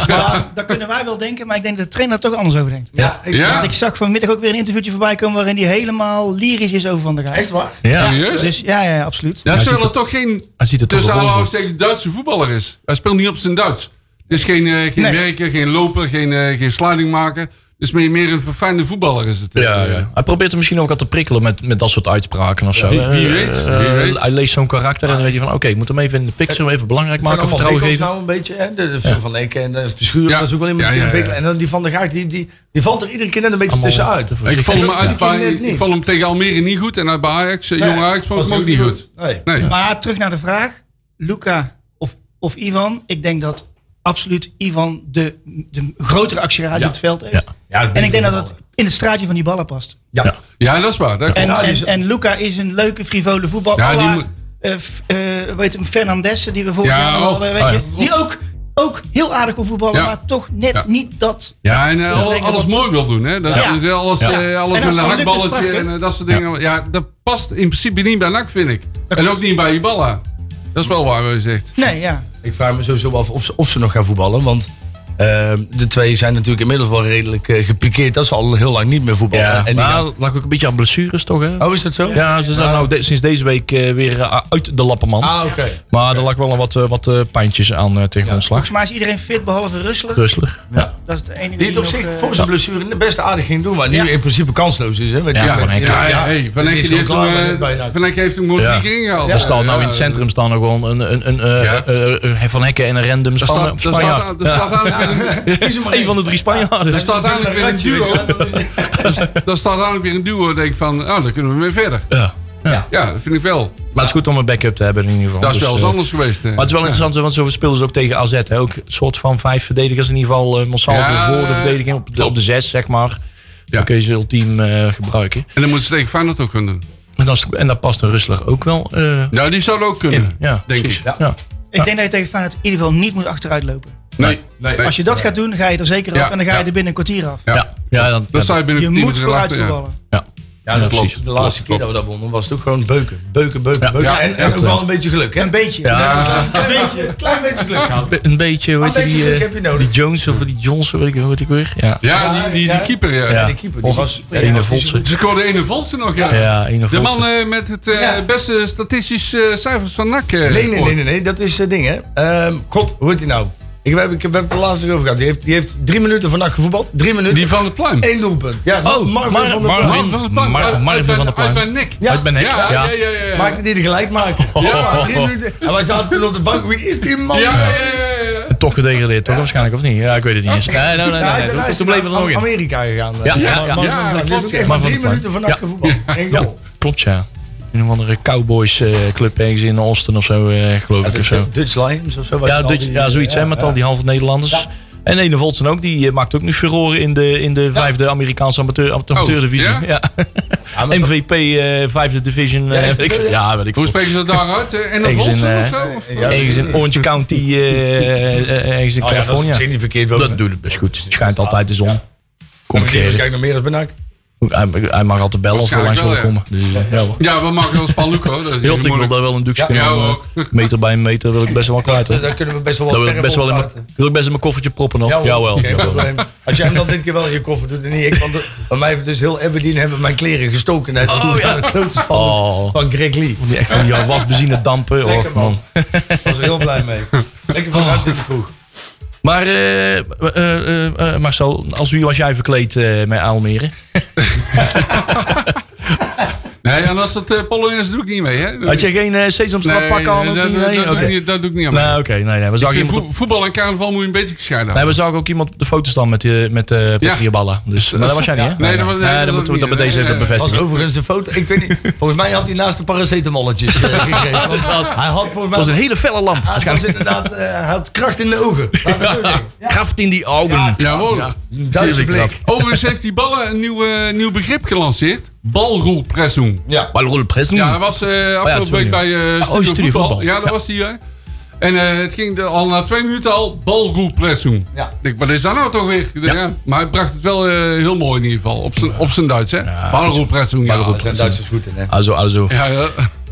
S5: Dat kunnen wij wel denken, maar ik denk dat de trainer er toch anders over denkt.
S4: Ja, ik,
S3: Ja?
S5: Want ik zag vanmiddag ook weer een interviewtje voorbij komen waarin hij helemaal lyrisch is over Van der Gaag.
S4: Echt waar?
S2: Ja.
S3: Serieus?
S5: Dus ja, ja, absoluut.
S3: Ja,
S2: Hij
S3: terwijl
S2: ziet
S3: het toch geen
S2: Hij ziet het toch
S3: tussen
S2: wel voor.
S3: aanhoudstekens Duitse voetballer is. Hij speelt niet op zijn Duits. Het is geen, eh, geen
S5: Nee.
S3: werker, geen loper, geen, eh, geen sliding maken. Het is meer, meer een verfijnde voetballer is het. eh.
S2: Ja, ja. Hij probeert hem misschien ook al te prikkelen met, met dat soort uitspraken of zo.
S3: Wie- wie
S2: Eh,
S3: weet,
S2: eh,
S3: wie weet.
S2: Hij leest zo'n karakter en dan weet je van... oké, ik moet hem even in de picture hem even belangrijk
S4: Zijn
S2: maken.
S4: allemaal
S2: Vertrouwen
S4: prikkels
S2: geven.
S4: nou een beetje. Hè? De, de Van Eken en de Verschuren,
S3: Ja.
S4: dat is ook wel iemand
S3: Ja,
S4: die
S3: ja,
S4: een
S3: ja.
S4: prikkel- En dan die Van der Gaag, die, die, die valt er iedere keer net een beetje
S2: Allemaal-
S4: nou
S2: eh,
S4: tussenuit.
S3: Ik vond hem,
S4: Ja.
S3: uit, bij-
S4: Ik niet.
S3: ik vond hem tegen Almere niet goed. En uit bij Ajax, eh,
S4: Nee,
S3: jonge Ajax, vond ik
S4: was
S3: hem ook niet goed.
S4: Nee.
S3: Nee.
S5: Maar terug naar de vraag. Luca of, of Ivan. Ik denk dat absoluut Ivan de, de grotere actieradius op het veld heeft.
S4: Ja,
S5: En ik denk dat dat in het straatje van die ballen past.
S4: Ja.
S2: Ja.
S3: Ja, dat is waar. Dat
S5: En,
S3: klopt.
S4: Ja, die
S5: en,
S4: is-
S5: en Luca is een leuke, frivole voetbal.
S3: Ja,
S5: Ja,
S3: die
S5: la,
S3: moet-
S5: eh, f- eh, weet hem, Fernandes, die we vorig
S3: Ja,
S5: jaar al
S3: oh,
S5: hadden. weet
S2: oh
S5: je,
S2: ja.
S5: Die ook, ook heel aardig kon voetballen,
S3: Ja.
S5: maar toch net
S3: Ja.
S5: niet dat.
S3: ja, en eh, al-
S5: denk ik
S3: alles
S5: wel.
S3: mooi wil doen. Hè? Dat,
S5: Ja.
S3: dat- Alles,
S2: Ja.
S3: eh, alles
S5: En
S3: met
S5: als
S3: een
S5: het lukt, is het
S3: hakballetje en
S5: prachtig.
S3: eh, dat soort dingen. Ja. dat past in principe niet bij NAC, vind ik. En ook niet bij Iballa. Dat is wel waar, wat je zegt.
S5: Nee, ja.
S4: Ik vraag me sowieso af of ze, of ze nog gaan voetballen. Want Ehm, de twee zijn natuurlijk inmiddels wel redelijk eh, gepikeerd. Dat ze al heel lang niet meer voetballen.
S2: Ja,
S4: En die
S2: maar
S4: gaan-
S2: lag ook een beetje aan blessures toch, hè?
S4: oh, is dat zo?
S2: Ja, ze zijn nou de- sinds deze week eh, weer eh, uit de lappenmand.
S4: Ah, oké.
S2: Maar er lag wel een wat, eh, wat eh, pijntjes aan eh, tegen ontslag.
S5: Volgens mij is iedereen fit, behalve Rusler.
S3: Dus-
S2: Rustig.
S5: Dat is het enige
S4: Die het op zich
S5: nog, eh,
S4: voor zijn blessure best aardig ging doen. Maar nu
S5: Ja.
S4: in principe kansloos is. Hè, met
S2: Ja,
S4: die-
S2: Van Henk.
S3: Ja, ja, hey, Van
S4: dit
S3: Enke
S4: is
S3: die heeft
S4: gewoon
S3: hem,
S4: klaar met
S3: eh,
S4: het bijna.
S3: Van Enke heeft hem gewoon
S2: Ja.
S3: drie keer ingehaald.
S2: Er staat nou
S3: Ja,
S2: in het centrum staan er gewoon een, een, een, eh,
S3: Ja.
S2: eh, eh, Van Hekken en een random
S3: Daar
S2: Span-
S3: staat, daar
S2: Spanjaard.
S3: staat, daar staat eigenlijk weer een-
S4: Kies er maar
S2: Een van de drie Spanjaarden.
S3: daar staat eigenlijk weer een duo. Daar staat eigenlijk weer een duo. Denk ik van, oh, daar kunnen we mee verder.
S2: Ja.
S3: Ja, dat vind ik wel.
S2: Maar het is goed om een backup te hebben in ieder geval.
S3: Dat is
S2: Dus,
S3: wel eens
S2: eh,
S3: anders geweest. eh.
S2: Maar het is wel interessant, want zo speelden ze ook tegen AZ. Hè? Ook een soort van vijf verdedigers in ieder geval. eh Monsalve
S3: Ja,
S2: voor de verdediging op de, op de zes, zeg maar. Dan kun je ze ultiem eh, gebruiken.
S3: En dan moeten ze tegen Feyenoord ook kunnen doen.
S2: En, dat is- en daar past een Rusler ook wel eh,
S3: Nou, die zou dat ook kunnen.
S2: in. Ja,
S3: denk
S2: precies.
S3: ik.
S2: Ja.
S5: Ik denk dat je tegen Feyenoord in ieder geval niet moet achteruitlopen.
S3: Nee. nee.
S5: Als je dat gaat doen, ga je er zeker af
S3: Ja,
S5: en dan ga je er
S3: ja.
S5: binnen een kwartier af.
S3: Ja.
S2: Ja. Ja, dan-
S3: Dat zou je binnen
S5: Je
S3: 10
S5: moet
S3: minuten
S5: vooruit
S3: laten, ja.
S5: voetballen.
S2: ja.
S4: Ja, dat
S2: Ja,
S4: klopt.
S2: preer.
S4: De laatste
S3: Klopt,
S4: keer dat we dat wonnen was het ook gewoon beuken. Beuken, beuken,
S2: Ja.
S4: beuken.
S3: Ja,
S4: en en ook
S2: klopt.
S4: wel een beetje geluk, hè? Een beetje.
S2: Ja.
S4: Een klein beetje, klein beetje geluk gehad.
S2: Een beetje, weet je,
S4: Een beetje
S2: die,
S4: geluk
S2: eh,
S4: heb je nodig.
S2: die Jones of die Johnson, weet ik, weet ik weer. Ja,
S3: Ja, die, die, die
S4: Ja.
S3: keeper, ja.
S2: Ja.
S4: Die keeper, die
S2: Och,
S4: was...
S2: ene
S4: ja,
S2: volse.
S3: Ze scoorde ene volste nog, ja.
S2: ja een of
S3: De man
S2: andere.
S3: eh, met het eh, beste statistisch eh, cijfers van NAC. eh,
S4: Nee, nee,
S3: ooit.
S4: nee, nee, nee, dat is het ding, hè? Ehm, God, hoe heet hij nou? Ik heb, ik heb het er laatst nog over gehad. Die heeft, die heeft drie minuten vannacht gevoetbald. Drie minuten.
S3: Die van de pluim.
S4: Eén doelpunt. Ja,
S2: Oh,
S4: Marvin
S2: Mar-
S4: van der
S2: Marvin.
S4: Plas.
S3: Man van de pluim. Oh,
S2: Mar-
S3: Uit- uit
S2: Marvin
S3: mijn-
S2: van de Pluim.
S3: Uit mijn nek.
S4: Ja.
S2: Uit mijn nek.
S3: Ja, ja,
S2: Ja. Oh,
S3: ja, ja. ja.
S4: Maakte die de gelijkmaker. Ja, drie minuten. En wij zaten toen op de bank. Wie is die man?
S3: Ja, ja, ja, ja, ja.
S2: Toch gedegradeerd, toch? Waarschijnlijk, of niet? Ja, ik weet het niet eens. Nee, nee, nee. nee,
S4: Ja, hij
S2: nee.
S4: is- hij
S2: Toen
S4: is
S2: bleef er
S4: naar
S2: nog in.
S4: Amerika gegaan.
S2: Ja, ja, ja.
S4: Maar-
S3: Ja,
S4: maar-
S3: klopt,
S4: Die heeft ook
S3: ja.
S2: Maar
S4: echt maar
S2: van
S4: drie
S2: de
S4: minuten
S2: Plas.
S4: vannacht
S2: Ja.
S4: gevoetbald. Eén
S2: Ja,
S4: goal.
S2: klopt, ja. In een andere Cowboys eh, club ergens in Austin of zo, eh, geloof ik, of zo.
S4: Dutch Lions of zo. wat
S2: Ja,
S4: je al
S2: Dutch-
S4: die-
S2: ja, zoiets, hè,
S4: ja,
S2: met
S4: ja.
S2: al die halve Nederlanders. En Ene Voltsen ook, die eh, maakt ook nu furoren in de, in de vijfde Amerikaanse amateur, amateur-
S3: Oh,
S2: amateurdivisie.
S3: ja?
S2: ja?
S4: Ja, maar dat-
S2: MVP, eh, vijfde division. eh,
S4: is dat
S2: weet ik
S4: zo,
S2: veel. ja, weet ik
S3: Hoe
S2: veel.
S3: spreken ze dat daaruit? Eh, En een
S2: Ergens in,
S3: volste of
S2: eh,
S3: zo? Of-
S4: Ja,
S2: Ergens in Orange County, eh, eh, eh, ergens in
S4: Oh ja, dat
S2: Californië.
S4: is zin niet verkeerd.
S2: dat doet het best goed. Het schijnt altijd de zon. Kom
S4: Komt
S2: keren.
S4: Kijk naar meer als Benak.
S2: Hij, hij mag altijd bellen of we langs willen
S3: Waarschijnlijk
S2: komen. Dus, eh, ja, hoor.
S3: Ja, we maken wel Spaluco. hoor. Dat is niet zo
S2: Hilt, ik wil
S3: moeilijk.
S2: daar wel een duksje
S3: Ja,
S2: kunnen,
S3: ook.
S2: eh, Meter bij een meter wil ik best wel kwijt. hè.
S4: Daar kunnen we best wel wat
S2: Dat wil ik
S4: verf
S2: best wel in mijn,
S4: oppraten.
S2: wil ik best in mijn koffertje proppen nog.
S4: Ja, hoor,
S2: Jawel.
S4: geen
S2: jawel.
S4: probleem. Als jij hem dan dit keer wel in je koffer doet en niet ik. Want de- bij mij heeft dus heel Aberdeen hebben mijn kleren gestoken. Uit oh, ja. de klote spannen
S2: Oh.
S4: van Greg Lee.
S2: Die echt van die wasbenzine dampen.
S4: Lekker
S2: Och,
S4: man.
S2: man. Oh.
S4: Ik was er heel blij mee. Lekker van harte in de kroeg.
S2: Maar eh, eh, eh, eh, Marcel, als wie was jij verkleed eh, met Aalmere?
S3: Nee, en als dat eh, Polonaise doe ik niet mee, hè?
S2: Had je geen eh, sesamstraat
S3: Nee,
S2: pakken aan? ook
S3: dat-
S2: niet?
S3: dat-
S2: Nee?
S3: dat doe
S2: Oké.
S3: ik niet- Dat doe ik niet aan mee.
S2: Nou, oké. Nee, nee. We
S3: Ik
S2: zagen
S3: vind
S2: iemand op-
S3: voe- voetbal en carnaval moet je een beetje gescheiden
S2: nee,
S3: houden.
S2: we zagen ook iemand op de foto staan met, eh, met eh Petri Balla. Dus, maar dat was jij niet, hè?
S3: Nee, dat was- nee, dat was
S2: dan moeten we
S3: ook
S2: dat bij
S3: niet. eh,
S2: deze
S3: Nee,
S2: even
S3: nee, nee.
S4: Was
S2: bevestigen.
S4: overigens een foto. Ik weet niet. Volgens mij had hij naast de paracetamolletjes eh, gekregen. Want hij had volgens mij.
S2: Het was een hele felle lamp.
S4: hij was
S2: waarschijnlijk.
S4: inderdaad. eh, hij had kracht in de ogen. Laten we het zo zeggen.
S2: Kracht in die ogen.
S3: Ja, hoor.
S4: Duitse
S2: Tuurlijk,
S4: blik.
S3: Overigens heeft die ballen een nieuw, eh, nieuw begrip gelanceerd. Balroelpressum.
S4: Ja.
S2: Maar rol pres
S3: Ja, hij was eh, afgelopen
S2: Oh sorry. Oh,
S3: week bij eh Studio
S2: Studio
S3: Voetbal.
S2: Voetbal.
S3: Ja, daar was hij. hè. En eh, het ging de- al na twee minuten al balroelpressum.
S4: Ja.
S3: Ik denk, wat is dat nou toch weer? Ik denk, ja. Maar hij bracht het wel eh, heel mooi in ieder geval. Op zijn, op zijn Duits, hè? Balroelpressum, ja.
S4: Daar zijn Duitsers goed in, hè?
S2: Also, also.
S3: Ja, ja.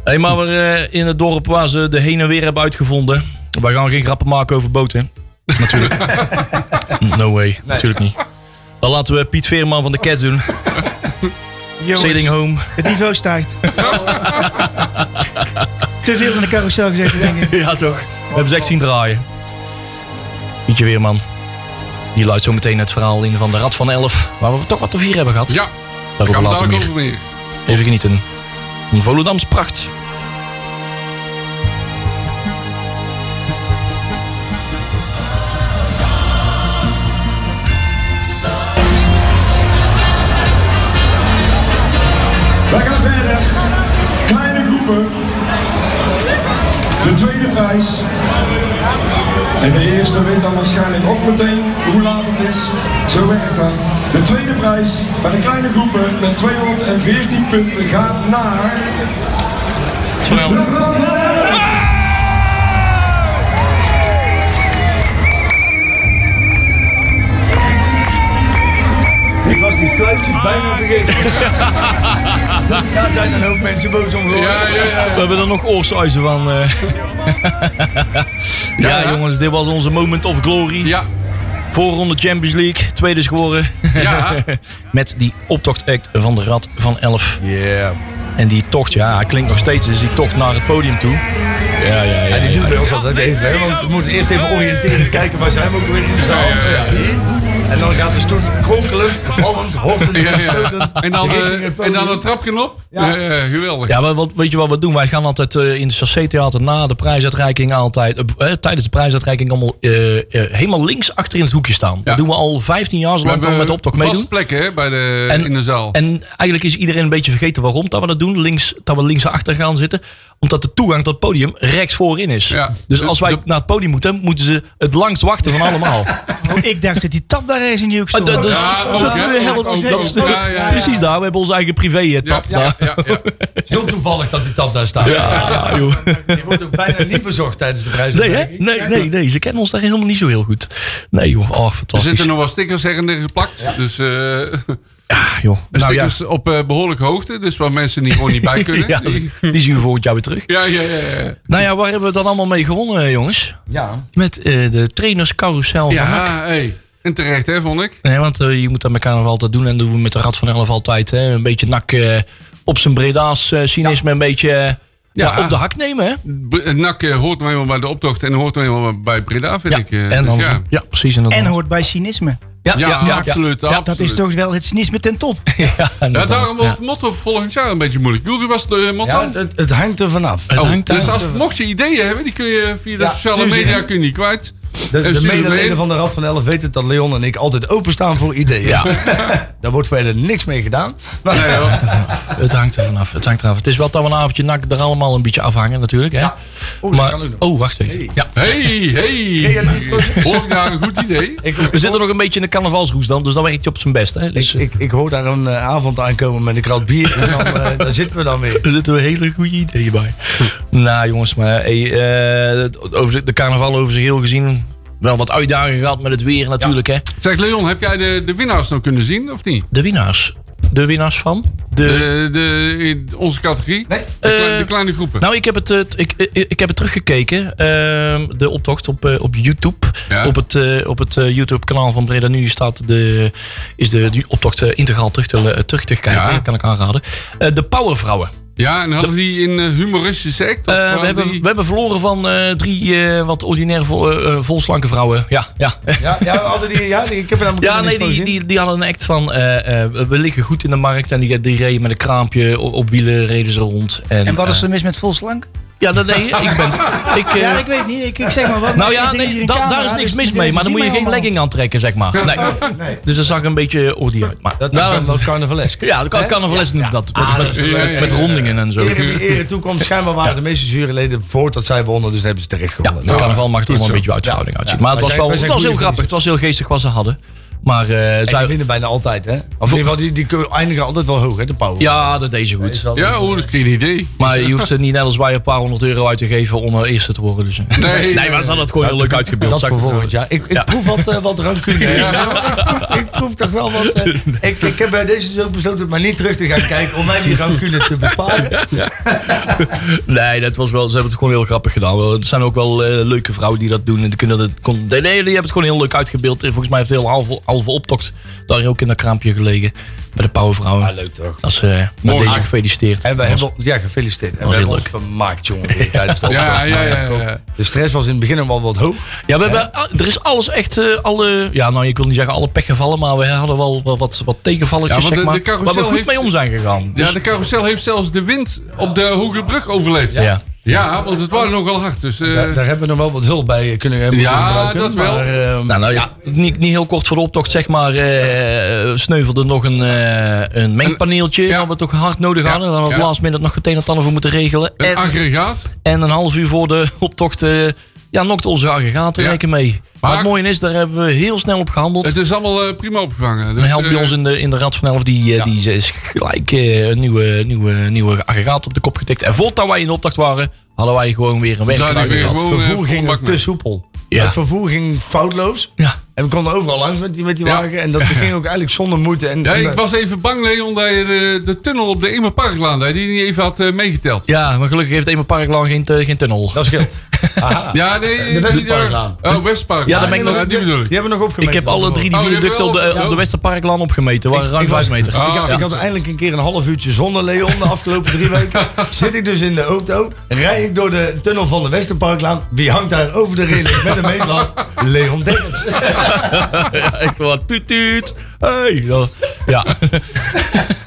S2: Hey, maar we, eh, in het dorp waar ze de heen en weer hebben uitgevonden. Wij gaan geen grappen maken over boten. Natuurlijk. no way. Natuurlijk niet. Dan laten we Piet Veerman van de Cats doen.
S5: Jongens,
S2: Sailing home.
S5: Het niveau stijgt. Te veel in de carousel gezeten, denk ik.
S2: ja, toch? We hebben ze echt zien draaien. Pietje Weerman. Die luidt zo meteen het verhaal in van de Rad van Elf. Waar we toch wat te vier hebben gehad.
S3: ja.
S2: Daarover
S3: Gaan we
S2: later
S3: daar ook
S2: meer.
S3: over meer.
S2: Even genieten. Een Volendams pracht.
S6: Wij gaan verder. Kleine groepen. De tweede prijs. En de eerste weet dan waarschijnlijk ook meteen hoe laat het is. Zo werkt dat. De tweede prijs bij de kleine groepen met 214 punten gaat naar...
S4: Ik was die fluitjes bijna vergeten. Daar zijn een hoop mensen boos om geworden.
S3: Ja, ja, ja.
S2: We hebben er nog oorsuizen van. eh. ja,
S3: ja.
S2: jongens, dit was onze moment of glory.
S3: ja.
S2: Voorronde Champions League, tweede is geworden.
S3: Ja.
S2: Met die optochtact van de Rad van 11.
S4: Yeah.
S2: En die tocht, ja, hij klinkt nog steeds. Dus die tocht naar het podium toe. Ja, ja, ja.
S4: Ja, die
S2: ja,
S4: doet
S2: ja.
S4: bij ons altijd even, hè? Want we moeten eerst even oriënteren, kijken waar zijn we ook weer in de zaal. Ja, hier. En dan gaat de stoet kronkelend, vallend, hortend,
S3: Ja, ja.
S4: stootend.
S3: En dan, eh,
S4: richting het
S3: en dan
S4: podium.
S3: een trapje op.
S4: Ja.
S3: Eh, geweldig.
S2: Ja, maar wat, weet je wat we doen? Wij gaan altijd eh, in de Sassé-theater na de prijsuitreiking altijd... eh, eh, tijdens de prijsuitreiking allemaal eh, eh, helemaal links achter in het hoekje staan. Dat doen we al 15 jaar, zolang we al met de optocht
S3: vast
S2: meedoen.
S3: plekken hè, bij de,
S2: En-
S3: in de zaal.
S2: En eigenlijk is iedereen een beetje vergeten waarom dat we dat doen. Links, dat we links achter gaan zitten. Omdat de toegang tot het podium rechts voorin is.
S3: Ja.
S2: Dus als wij
S3: De-
S2: naar het podium moeten, moeten ze het langst wachten van allemaal.
S5: Oh, ik dacht dat die tap daar ergens in die hoek
S2: Ah,
S5: stond.
S2: dat, dat,
S3: Ja, ook,
S2: dat
S3: hè?
S2: helpt.
S3: Ook,
S2: dat is
S3: ook.
S2: de-
S3: Ja, ja, ja.
S2: Precies daar. We hebben onze eigen privé-tap.
S3: ja, ja, ja, ja.
S4: Het is heel toevallig dat die tap daar staat.
S2: ja, joh.
S4: Die wordt ook bijna niet bezocht tijdens de prijs.
S2: Nee, hè? Nee, nee, nee. Ze kennen ons daar helemaal niet zo heel goed. Nee, joh. Oh,
S3: Er
S2: fantastisch.
S3: zitten nog wel stickers her en der geplakt. Dus eh,
S2: Ah, joh. Nou ja,
S3: stickers op eh, behoorlijke hoogte. Dus waar mensen niet gewoon niet bij kunnen. dus-
S2: ja,
S3: Die-
S2: die zien we volgend jaar weer terug.
S3: ja, ja, ja. ja.
S2: Nou ja, waar hebben we dan allemaal mee gewonnen, eh, jongens?
S4: Ja.
S2: Met eh, de trainerscarousel van NAC.
S3: Ja, hey. En terecht, hè, vond ik.
S2: Nee, want eh, je moet dat met carnaval altijd doen. En dat doen we met de Rad van Elf altijd. Hè? Een beetje nak eh, op zijn Breda's eh, cynisme. Een beetje eh, ja.
S3: Ja.
S2: op de hak nemen. Hè?
S3: B- NAC eh, hoort nou eenmaal bij de optocht en hoort nou eenmaal bij Breda, vind
S2: Ja,
S3: ik.
S2: en
S3: eh. Dus
S2: dan,
S3: ja.
S2: ja. precies. inderdaad.
S5: En hoort bij cynisme.
S2: ja,
S3: Ja, absoluut.
S2: Ja,
S5: Dat is
S3: absoluut.
S5: toch wel het cynisme ten top.
S2: Ja,
S3: Ja,
S2: inderdaad,
S3: daarom wordt
S2: ja.
S3: het motto volgend jaar een beetje moeilijk. Jullie was het eh, motto?
S4: ja het, het hangt er vanaf.
S2: Het
S3: Oh,
S2: hangt
S3: dus
S2: daar-
S3: als, mocht je ideeën hebben, die kun je via de
S4: Ja,
S3: sociale
S4: stuur ze
S3: media
S4: in.
S3: kun je niet kwijt.
S4: De,
S3: En
S4: de
S3: stuur ze
S4: medeleden
S3: in.
S4: van de Rad van 11 weten dat Leon en ik altijd openstaan voor ideeën.
S2: Ja.
S4: Daar wordt verder niks mee gedaan. Maar
S3: Nee, hoor.
S2: Het hangt er vanaf. Het hangt er vanaf. Het is wel dat we een avondje nak er allemaal een beetje afhangen natuurlijk. Hè?
S4: Oeh, dat
S2: maar,
S4: kan ook nog.
S2: oh, wacht even.
S4: Hey.
S2: Ja.
S3: Hey, hey.
S4: Creatief.
S3: Hoor ik daar een goed idee?
S4: ik,
S2: We zitten nog een beetje in de carnavalsroes dan. Dus dan werkt je op zijn best. Hè? Dus,
S4: ik, ik, ik hoor daar een eh, avond aankomen met een krat bier. En dan, eh, daar zitten we dan weer.
S2: Er zitten we hele goede ideeën bij. nou jongens, maar hey, eh, het over de carnaval over zich heel gezien. Wel wat uitdagingen gehad met het weer natuurlijk. Hè?
S3: Zeg Leon, heb jij de, de winnaars nou kunnen zien of niet?
S2: De winnaars. De winnaars van? De,
S3: De, de, in onze categorie?
S4: Nee.
S3: De, kle-
S2: Eh,
S3: de kleine groepen.
S2: Nou, ik heb het, eh, t- ik, eh, ik heb het teruggekeken. ehm, de optocht op, eh, op YouTube.
S3: Ja.
S2: Op het, eh, op het eh, YouTube-kanaal van Breda Nu staat de, is de die optocht eh, integraal terug te, eh, terug te kijken.
S3: Ja.
S2: Dat kan ik aanraden. Eh, de Powervrouwen.
S3: ja, en hadden die een eh, humoristische act? of
S2: Eh,
S3: waren
S2: we, hebben,
S3: die-
S2: we hebben verloren van eh, drie eh, wat ordinaire vol, eh, eh, volslanke vrouwen. Ja, ja.
S4: Ja, ja, hadden die, ja die- ik heb er namelijk
S2: ja
S4: nog
S2: nee,
S4: niks van
S2: die,
S4: gezien.
S2: die, die hadden een act van eh, eh, we liggen goed in de markt. En die, die reden met een kraampje op, op wielen reden ze rond. En,
S5: En wat is
S2: eh,
S5: er mis met volslank?
S2: ja, dat nee, ik ben... Ik, eh,
S5: Ja, ik weet niet. Ik, ik zeg maar wat.
S2: Nou
S5: Ik
S2: ja,
S5: denk
S2: nee,
S5: hier een
S2: da-
S5: camera,
S2: daar is niks
S5: dus
S2: mis
S5: die
S2: mee.
S5: mensen
S2: Maar dan
S5: zien
S2: moet je
S5: mij
S2: geen
S5: allemaal.
S2: legging aantrekken, zeg maar. Nee.
S4: Nee,
S2: Dus dat zag een beetje ordie uit. Maar,
S4: dat is
S2: nou,
S4: dan wel carnavalesk.
S2: ja, dat kan, kan een les noemen dat. Met, met,
S3: is wel
S2: met-
S3: leuk.
S2: met rondingen en zo.
S4: Ere wie ere toekomt. Schijnbaar waren de meeste juryleden voordat zij wonnen, dus hebben ze terecht
S2: Ja,
S4: gewonnen.
S2: de carnaval mag er allemaal een beetje uitverhouding uitzien. Maar het
S4: Wij
S2: was
S4: zijn-
S2: wel
S4: wij
S2: het
S4: zijn
S2: was heel
S4: goede
S2: grappig. Het was heel geestig wat ze hadden. Maar eh,
S4: En die
S2: zij,
S4: winnen bijna altijd, hè? Of in ieder geval, die, die eindigen altijd wel hoog, hè, de power.
S2: ja, dat deed ze goed.
S3: Ja, oh, dat is geen idee.
S2: Maar je hoeft er niet net als wij een paar honderd euro uit te geven om eh, eerste te worden. Dus. eh.
S3: Nee.
S2: nee, maar ze hadden het gewoon heel leuk uitgebeeld.
S4: Dat
S2: zou ik
S4: voor volgend
S2: zeggen.
S4: jaar. Ik, ik
S2: Ja.
S4: proef wat, eh, wat rancune. Ik, proef, ik proef toch wel wat... eh, ik, ik heb bij deze zo besloten om maar niet terug te gaan kijken... om mij die rancune te besparen.
S2: Nee, dat was wel, ze hebben het gewoon heel grappig gedaan. Wel, Er zijn ook wel eh, leuke vrouwen die dat doen. En die kunnen dat, kon, nee, nee, die hebben het gewoon heel leuk uitgebeeld. En Volgens mij heeft de hele halve, halve optocht daar ook in dat kraampje gelegen. Bij de Powervrouwen.
S3: Ah,
S2: Ja, leuk toch. Dat is eh, met
S3: Mooi.
S2: deze gefeliciteerd.
S4: En we
S2: Dat was-
S4: hebben... Ja, gefeliciteerd. En
S2: was
S4: we hebben
S2: heel
S4: ons vermaakt, jongen. weer Tijdens
S2: Oh,
S4: de
S3: Ja,
S4: opdracht.
S3: ja, ja, ja, ja.
S4: De stress was in het begin al wel wat hoog.
S2: Ja, we hebben, ah, er is alles echt, eh, alle, ja nou ik wil niet zeggen alle pechgevallen, maar we hadden wel wel wat, wat tegenvalletjes
S3: Ja, want
S2: zeg
S3: de-
S2: maar,
S3: de carousel
S2: waar we goed
S3: heeft-
S2: mee om zijn gegaan. Dus,
S3: Ja, de carousel heeft zelfs de wind op de Hoge Brug overleefd.
S2: Ja.
S3: Ja, want het waren nogal hard. Dus, eh,
S4: Daar, daar hebben we nog wel wat hulp bij eh, kunnen hebben.
S3: Ja,
S4: gebruiken,
S3: dat wel.
S4: Maar, eh,
S2: Nou, nou ja, niet, niet heel kort voor de optocht, zeg maar, eh, sneuvelde nog een, eh, een mengpaneeltje.
S3: ja.
S2: Wat we toch hard nodig
S3: Ja,
S2: hadden. We hadden op
S3: ja.
S2: last minute nog meteen het ander voor moeten regelen.
S3: een
S2: En,
S3: aggregaat.
S2: en een half uur voor de optocht, eh ja, nokte onze aggregaten
S3: Ja.
S2: lekker mee. Maar
S3: Maar-
S2: het mooie is, daar hebben we heel snel op gehandeld.
S3: Het is allemaal eh, prima opgevangen. Dus,
S2: Een help bij
S3: eh,
S2: ons in de, in de Rad van Elf, die, eh, die is gelijk eh, een nieuwe, nieuwe, nieuwe aggregaat op de kop getikt. En voordat wij in de opdracht waren, hadden wij gewoon weer een werk
S3: Zouden
S2: eruit
S3: weer
S2: gehad.
S3: gewoon-
S4: het vervoer
S3: eh,
S4: ging
S3: volbak
S4: te
S3: mee.
S4: soepel.
S2: Ja.
S4: Het vervoer ging foutloos.
S2: Ja.
S4: En we konden overal langs met die, met die
S3: Ja.
S4: wagen. En dat ging ook eigenlijk zonder moeite. En,
S3: Ja,
S4: en
S3: ik
S4: dat-
S3: was even bang, Leon, dat je de, de tunnel op de Emerparklaan, dat je die niet even had eh, meegeteld.
S2: ja, maar gelukkig heeft Ema Parklaan geen, tu- geen tunnel.
S4: Dat scheelt.
S3: Ja, nee.
S4: De Westparklaan.
S3: Westparklaan. Oh, Westpark.
S2: Ja, daar ben ik nog-
S3: die bedoel ik.
S4: Die hebben we nog
S2: Ik
S4: opgemeten.
S2: heb alle drie die
S3: Oh, je hebt
S2: viaducten op de,
S3: wel-
S2: op de Westerparklaan opgemeten. waren ruim
S4: ik was-
S2: 5 meter.
S3: Ah.
S4: Ik, had, ik had eindelijk een keer een half uurtje zonder Leon de afgelopen drie weken. Zit ik dus in de auto, rij ik door de tunnel van de Westerparklaan. Wie hangt daar over de reling met een meetlat? Leon Dekkers.
S2: Ja, ik wat tuut tuut. Hey. Ja. Ja.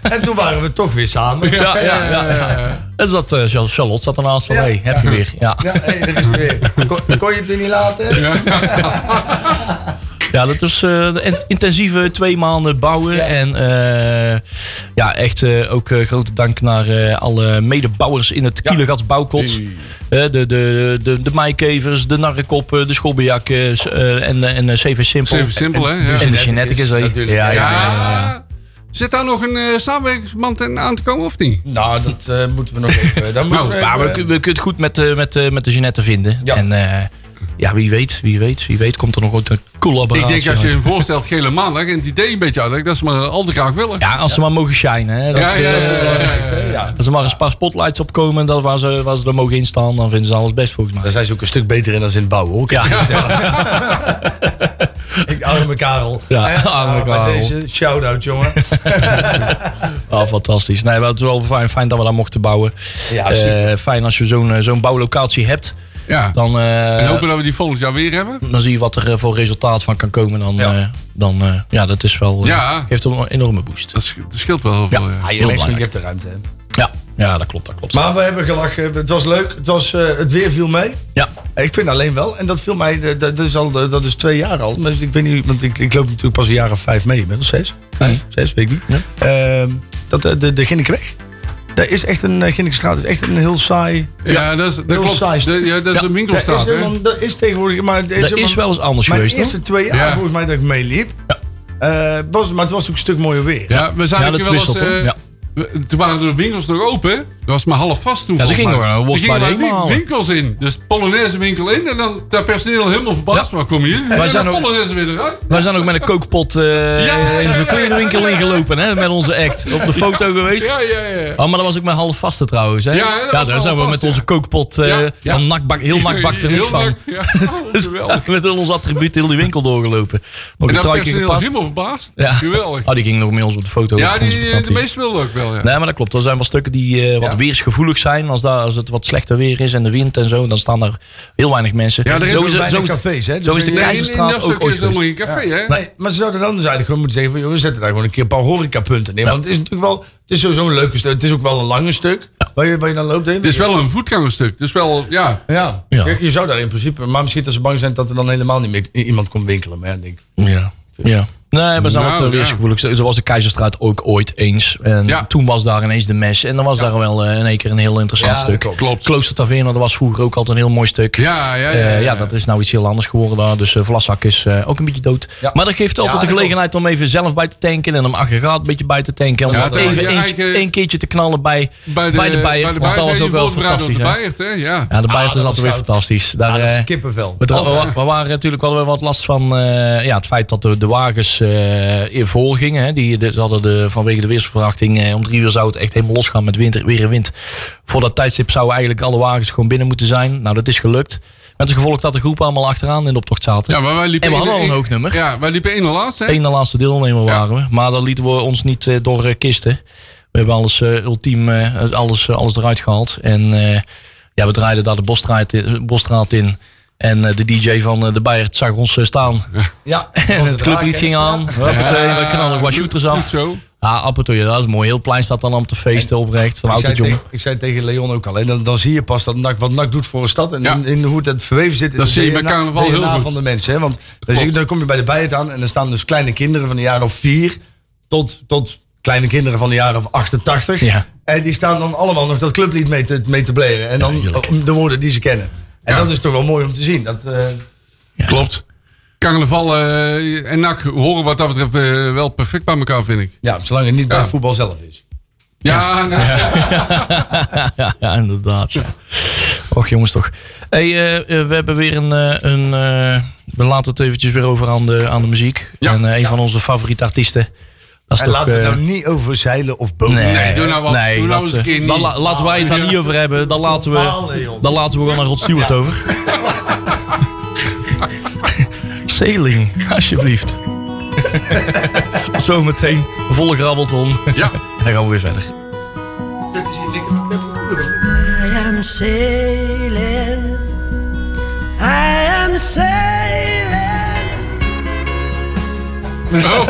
S4: En toen waren we toch weer samen.
S2: Ja, ja, ja, En zat, eh, Char- Charlotte zat ernaast van,
S4: Ja.
S2: hey, heb je weer. Ja.
S4: Ja, hé, daar is het weer. Kon, kon je het weer niet laten?
S2: Ja, dat is eh, de in- intensieve twee maanden bouwen. En eh, ja, echt eh, ook eh, grote dank naar eh, alle medebouwers in het Kielergats Bouwkot. Eh, de, de, de, de maaikevers, de narrekoppen, de schobbejakkers eh, en, eh, en eh, CV Simpel.
S3: Even simpel, hè?
S2: En,
S3: Ja.
S2: de geneticus. eh.
S4: natuurlijk.
S2: Ja, ja, ja, ja.
S3: Ja. Zit daar nog een eh, samenwerkingsverband in- aan te komen of niet?
S4: Nou, dat eh, moeten we nog even. Dan moeten we
S3: Nou,
S2: Ja, maar
S4: even-
S2: we, kun- we kunnen het goed met, eh, met, eh, met de Jeannette vinden.
S4: Ja.
S2: En eh, ja, wie weet, wie weet, wie weet komt er nog ooit een
S3: Ik
S2: collaboratie.
S3: denk als je
S2: uit.
S3: hem voorstelt gele maandag en het idee een beetje uitlegt, dat ze maar al te graag willen.
S2: Ja, als ze maar mogen shinen. Hè, dat,
S3: Ja, ja,
S2: eh,
S3: ja, ja.
S4: ja.
S2: Als er maar een paar spotlights op komen en dat waar ze, waar ze er mogen instaan, dan vinden ze alles best volgens mij.
S4: Daar zijn ze ook een stuk beter in dan ze in het bouwen, hoor.
S2: Ja, ja,
S4: Ik arme Karel.
S2: Ja,
S4: Eh,
S2: arme
S4: nou, bij
S2: Karel.
S4: deze shout-out, jongen.
S2: fantastisch. Nee, maar het is wel fijn, fijn dat we daar mochten bouwen.
S4: Ja,
S2: Eh,
S4: super.
S2: fijn als je zo'n eh, zo'n bouwlocatie hebt.
S3: Ja.
S2: Dan, eh,
S3: En hopen dat we die volgend jaar weer hebben.
S2: dan zie je wat er eh, voor resultaat van kan komen. Dan, ja. dan eh, ja, dat is wel, eh,
S3: Ja.
S2: geeft een enorme boost.
S3: Dat sch- dat scheelt wel heel
S2: Ja.
S3: veel. Ja.
S2: Heel belangrijk.
S4: de ruimte, hè.
S2: Ja. ja, dat klopt, dat klopt.
S4: Maar we hebben gelachen. Het was leuk. Het, was, eh, het weer viel mee.
S2: ja.
S4: Ik vind alleen wel, en dat viel mij, eh, dat dat is, al, eh, dat is twee jaar al. Maar ik weet niet, want ik, ik loop natuurlijk pas een jaar of vijf mee. Inmiddels zes. Vijf, zes, weet ik niet. Ehm, dat, eh, de, de Ginnekweg. Daar is echt een, eh, Ginnekenstraat is echt een heel saai...
S3: Ja, dat is, dat
S4: Heel
S3: klopt.
S4: saai.
S3: De- ja, dat is
S2: Ja.
S3: een
S4: Dat is,
S3: winkelstraat, hè?
S4: helemaal- dat is tegenwoordig... Maar het
S2: Dat
S4: helemaal-
S2: is wel eens anders
S4: Mijn
S2: geweest,
S4: eerste
S2: hoor.
S4: twee jaar
S3: Ja.
S4: volgens mij dat ik meeliep. Eh, was, maar het was ook een stuk mooier weer.
S3: Ja, we zijn
S2: Ja,
S3: ook
S2: dat
S3: wel eens...
S2: wisselt, hoor.
S3: eh,
S2: Ja.
S3: we- Toen waren de winkels nog open. Dat was maar half vast toen.
S2: Ja, ze
S3: volgens
S2: gingen
S3: mij.
S2: gewoon, eh, worst
S3: Er
S2: bij de
S3: maar
S2: hemel
S3: win-
S2: halen.
S3: winkels in. Dus Polonaise winkel in. En dan daar personeel helemaal verbaasd.
S2: Ja.
S3: Waar kom je? En dan
S2: zijn
S3: de
S2: ook-
S3: Polonaise weer eruit.
S2: Wij zijn ook met een kookpot eh,
S3: Ja, ja,
S2: in
S3: ja,
S2: zo'n
S3: ja.
S2: kledingwinkel ingelopen hè, met onze act. Op de foto geweest.
S3: Ja, ja, ja.
S2: Oh, maar dat was ook met half vaste trouwens. Hè?
S3: Ja, dat was
S2: daar
S3: half
S2: zijn we
S3: vast,
S2: met
S3: ja.
S2: onze kookpot eh,
S3: Ja, ja.
S2: van nakbak, heel nakbak er niks
S3: Heel
S2: van.
S3: nak- Ja, oh,
S2: Dus
S3: geweldig.
S2: met al ons attribuut heel die winkel doorgelopen. Nog
S3: En
S2: een
S3: dat
S2: truikje
S3: personeel
S2: gepast.
S3: helemaal verbaasd.
S2: Ja.
S3: Geweldig.
S2: Oh, die ging nog met ons op de foto.
S3: Ja,
S2: Dat vond ze
S3: die, de
S2: fantastisch.
S3: meeste wilden ook wel, ja.
S2: Nee, maar dat klopt. Er zijn wel stukken die eh, wat weersgevoelig zijn. Als, daar, als het wat slechter weer is en de wind en zo, dan staan daar heel weinig mensen.
S3: Ja, er is
S2: zo
S3: ook
S2: is, het-
S4: Bijna
S2: zo is, het-
S4: cafés, hè?
S2: zo is de
S4: je-
S3: Dus Nee, in-
S2: Keizerstraat
S3: in
S2: ook
S3: dat stukje
S2: ooit
S3: is helemaal geen café, hè?
S4: Nee, maar ze zouden dan dus eigenlijk gewoon moeten zeggen van... jongens, zetten daar gewoon een keer een paar horecapunten in. Want het is natuurlijk wel... Het is sowieso een leuke stuk. Het is ook wel een lange stuk. Waar je, waar je dan loopt heen.
S3: Het is wel een voetgangerstuk. Dus wel, ja.
S4: Ja,
S2: Ja.
S4: Je, je zou daar in principe... Maar misschien dat ze bang zijn dat er dan helemaal niet meer i- iemand komt winkelen. Maar ja, ik denk,
S2: Ja. ja. Nee, we zijn
S3: Nou,
S2: wat eh,
S3: ja.
S2: weersgevoelig. Zo zo was de Keizerstraat ook ooit eens. En
S3: Ja.
S2: toen was daar ineens de mes. En dan was daar wel eh, in één keer een heel interessant
S4: Ja,
S2: stuk.
S4: klopt.
S3: Klopt.
S2: Klooster Taverne, dat was vroeger ook altijd een heel mooi stuk.
S3: Ja, ja, ja.
S2: Eh,
S3: ja, ja.
S2: dat is nou iets heel anders geworden daar. Dus eh, Vlasak is eh, ook een beetje dood.
S4: Ja.
S2: Maar dat geeft altijd
S4: Ja,
S2: de
S4: dat
S2: gelegenheid om even zelf bij te tanken. En om aggregaat een beetje bij te tanken. Om
S3: Ja,
S2: dat
S3: dat
S2: even
S3: je
S2: één
S3: eigen-
S2: één keertje te knallen bij, bij, de, Beiert.
S3: bij de
S2: want dat
S3: Beiert
S2: was
S3: en
S2: ook
S3: je
S2: wel
S3: voorbereid
S2: fantastisch.
S3: op
S2: hè.
S3: de Beiert, hè? Ja.
S2: Ja, de Beiert
S4: Ah,
S2: is
S4: dat
S2: altijd
S4: was
S2: weer
S4: goud.
S2: fantastisch. Daar,
S4: ah, dat
S2: eh,
S4: is kippenvel. Oh,
S2: we, dra- we- we waren natuurlijk wel weer wat last van eh, ja, het feit dat de, de wagens eh voorgingen. Hè. Die, de- ze hadden de, vanwege de weersverwachting eh, om drie uur zou het echt helemaal losgaan met winter, weer en wind. Voor dat tijdstip zouden eigenlijk alle wagens gewoon binnen moeten zijn. Nou, dat is gelukt. Met het gevolg dat de groepen allemaal achteraan in de optocht zaten.
S3: Ja, maar wij liepen
S2: en we hadden
S3: één-
S2: al een hoog nummer.
S3: Ja, wij liepen één na laatste, hè?
S2: Eén de laatste deelnemer waren we. Maar dat lieten we ons niet eh, door eh, kisten. We hebben alles eh, ultiem, eh, alles, eh, alles eruit gehaald. En eh, ja, we draaiden daar de bosstraat, in- bosstraat in. En eh, de DJ van eh, de Bayard zag ons eh, staan.
S4: Ja,
S2: En het clublied ging aan. Huppatee, we knallen wat
S3: goed-
S2: shooters
S3: Eh, goed
S2: af.
S3: zo.
S2: Ah, Appetoe, dat is mooi. Heel het plein staat dan om te feesten oprecht. Van
S4: Ik zei,
S2: Auto
S4: tegen, ik zei tegen Leon ook al, hè, dan, dan zie je pas dat NAC, wat NAC doet voor een stad en
S3: Ja.
S4: in, in hoe het dat verweven zit in
S3: Dat
S4: de
S3: zie je
S4: DNA
S3: bij carnaval heel
S4: DNA
S3: goed.
S4: van de mensen. Hè? Want dan, zie je- dan kom je bij de bijt aan en dan staan dus kleine kinderen van een jaar of vier tot, tot kleine kinderen van een jaar of 88.
S2: Ja.
S4: En die staan dan allemaal nog dat clublied mee te, mee te bleren en dan
S2: heerlijk.
S4: de woorden die ze kennen. En
S3: Ja.
S4: dat is toch wel mooi om te zien. Dat, eh,
S3: Klopt. Carnaval eh, en NAC horen wat dat betreft eh, wel perfect bij elkaar, vind ik.
S4: ja, zolang het niet bij
S3: Ja.
S4: voetbal zelf is.
S3: Ja, nou,
S2: ja, ja, inderdaad. ja. Och jongens toch. Hey, eh, eh, we hebben weer een... eh, een eh, we laten het eventjes weer over aan de, aan de muziek.
S3: Ja.
S2: En eh, een van onze favoriete artiesten. Dat is
S4: En
S2: toch,
S4: laten we het
S2: eh,
S4: nou niet over zeilen of bomen.
S3: Nee, doe nou wat. Doe nou eens een keer
S2: Dan
S3: niet.
S2: la- laten wij het daar niet over hebben. Dan laten we,
S4: Allee, joh.
S2: dan laten we gewoon naar Rod Stewart over. Sailing, alsjeblieft. Zometeen, volle grabbelton.
S3: Ja.
S2: Dan gaan we weer verder.
S7: I am sailing. I am sailing.
S3: Oh,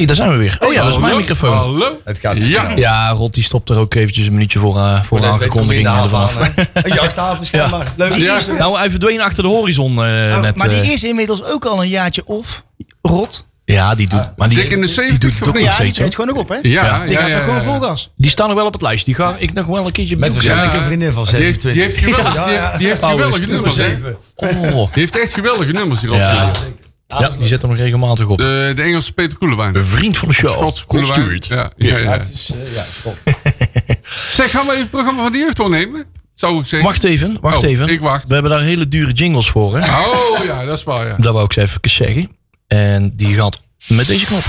S2: hey, daar zijn we weer. Oh ja, dat is mijn microfoon.
S3: Hallo.
S4: Het gaat zo
S3: Ja.
S4: snel.
S2: Ja, Rod die stopt er ook eventjes een minuutje voor, eh, voor de
S4: Deze week kom je in
S2: aankondiging
S4: de haven
S2: ervan af.
S4: aan, hè. Een jachthaven schijnbaar. Leuk.
S3: Ja.
S2: Nou, hij verdween achter de horizon eh, net.
S5: Oh, maar die
S2: eh.
S5: is inmiddels ook al een jaartje of rot.
S2: ja, die doet. maar die,
S3: dik in de
S2: die
S3: 70
S2: doet het ook
S3: geweest.
S2: nog
S5: Ja, die
S2: steeds. hoor.
S5: treedt gewoon nog op, hè?
S3: Ja,
S5: Die
S3: ja,
S5: gaat nog
S3: ja.
S5: gewoon
S3: ja.
S5: vol gas.
S2: Die staan nog wel op het lijstje. Die ga ik nog wel een keertje
S4: Met
S2: bezoeken.
S4: waarschijnlijk
S3: Ja.
S4: een vriendin van
S3: Die heeft,
S4: 27.
S3: die heeft, geweldig,
S4: Ja,
S3: die
S4: ja.
S3: heeft, die heeft
S2: Paulus,
S3: geweldige
S2: nummer
S3: nummers. hè. Die
S4: Zeven.
S2: Oh.
S3: heeft echt geweldige nummers, die Rob
S2: Ja.
S3: Stewart.
S2: ja, die zet hem regelmatig op.
S3: De, de Engelse Peter Koelewijn.
S2: Een vriend van de show.
S3: Schots
S2: Rod
S3: Koelewijn.
S2: Stewart.
S3: Ja, ja,
S4: Ja,
S3: ja.
S4: het is, eh, ja, stop.
S3: Zeg, gaan we even het programma van de jeugd doornemen? Zou ik zeggen.
S2: Wacht even, wacht
S3: Oh,
S2: even.
S3: ik wacht.
S2: We hebben daar hele dure jingles voor, hè?
S3: Oh ja, dat is waar, ja.
S2: Dat wou ik eens even zeggen. En die gaat met deze knop.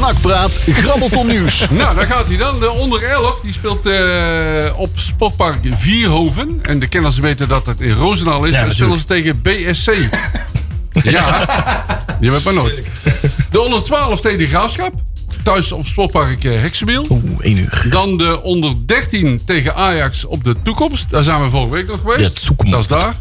S1: Nakpraat, grabbelton nieuws.
S3: Nou, daar gaat hij dan. De onder 11 die speelt eh, op Sportpark Vierhoven. En de kenners weten dat het in Roosendaal is.
S2: Ja,
S3: en spelen ze tegen BSC. ja, je weet maar nooit. De onder 12 tegen de Graafschap. Thuis op Sportpark eh, Heksenwiel.
S2: Oeh, één uur.
S3: Dan de onder 13 tegen Ajax op de toekomst. Daar zijn we vorige week nog geweest.
S2: De toekomst.
S3: Dat is daar.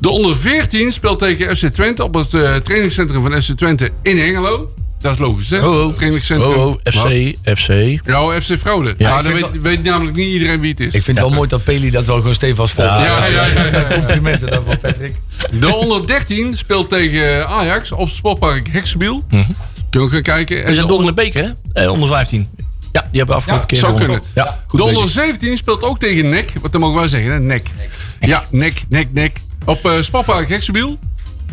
S3: De onder 14 speelt tegen FC Twente op het eh, trainingscentrum van FC Twente in Hengelo. Dat is logisch, hè?
S2: Oh, oh.
S3: Trainingscentrum.
S2: Oh, oh, FC, FC.
S3: Ja, FC Fraude.
S2: Ja,
S3: maar
S2: ik
S3: Nou, dan
S2: vind
S3: weet, weet namelijk niet iedereen wie het is.
S4: Ik vind het wel mooi dat Peli dat wel gewoon stevig als volgt.
S3: ja, ja, ja, ja.
S4: Complimenten daarvoor, Patrick.
S3: De onder 13 speelt tegen Ajax op Sportpark Heksenbiel. Kun je ook gaan kijken.
S2: Mhm. We
S3: En
S2: zijn
S3: de,
S2: door
S3: on-
S2: in de beker, hè? Eh, onder 15. Ja, die hebben de afgelopen keer
S3: zou
S2: gewonnen.
S3: kunnen.
S2: Ja, goed
S3: de onder
S2: bezig.
S3: 17 speelt ook tegen NEC. Wat dan mogen wij zeggen, hè? NEC. Ja, NEC, NEC, NEC. Op eh Sportpark Heksenbiel.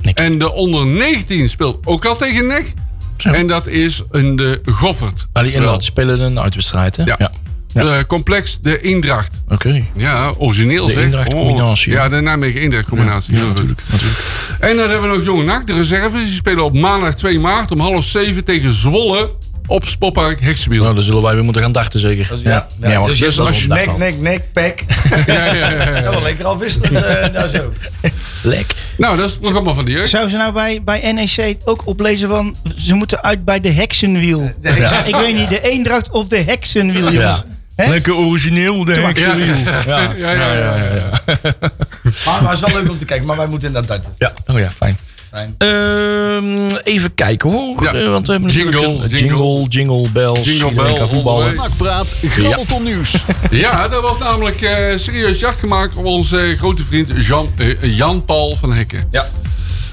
S2: NEC.
S3: En de onder 19 speelt ook al tegen NEC. En dat is een de Goffert.
S2: Maar die inderdaad spelen een uitwedstrijd, hè?
S3: Ja.
S2: Ja.
S3: De complex De Indracht.
S2: Oké.
S3: Ja, origineel
S2: De
S3: zeg. Oh.
S2: Indracht-combinatie,
S3: Ja,
S2: hè?
S3: de Nijmegen Indracht combinatie. Heel natuurlijk, En dan hebben we nog Jong NAC, de reserves. Die spelen op maandag 2 maart om half 7 tegen Zwolle op Spotpark Heksenbiel.
S2: Nou, dan zullen wij weer moeten gaan darten, zeker. Ja, ja, want
S4: dus
S2: gisteren
S4: je
S2: was
S4: was
S2: het darten
S4: nek,
S2: al.
S4: nek, nek, pek.
S3: Ja, ja, ja, ja.
S4: Ja, wel lekker afwisselend. eh nou zo.
S2: Lek.
S3: Nou, dat is het programma van de jeugd.
S5: Zou ze nou bij, bij NEC ook oplezen van... ze moeten uit bij de heksenwiel?
S4: heksen-
S5: Ik weet niet, de eendracht of de heksenwiel,
S2: Ja.
S5: jongens.
S2: Nou, Lekker origineel, denk
S3: Ja, ja, ja. ja, ja, ja.
S4: Maar, maar het is wel leuk om te kijken, maar wij moeten inderdaad darten.
S2: Ja, oh ja, fijn.
S4: Fijn.
S2: Ehm, even kijken hoor.
S3: Ja.
S2: Eh, want we hebben
S3: Jingle,
S2: natuurlijk een-
S3: jingle.
S2: jingle, jingle bells.
S3: Jingle
S2: Iedereen
S3: bell,
S2: kan voetballen.
S3: onderwijs.
S1: Nakpraat, grabbelton nieuws.
S3: Ja, er wordt namelijk eh, serieus jacht gemaakt op onze eh, grote vriend Jean, eh, Jan-Paul van Hekken.
S4: Ja.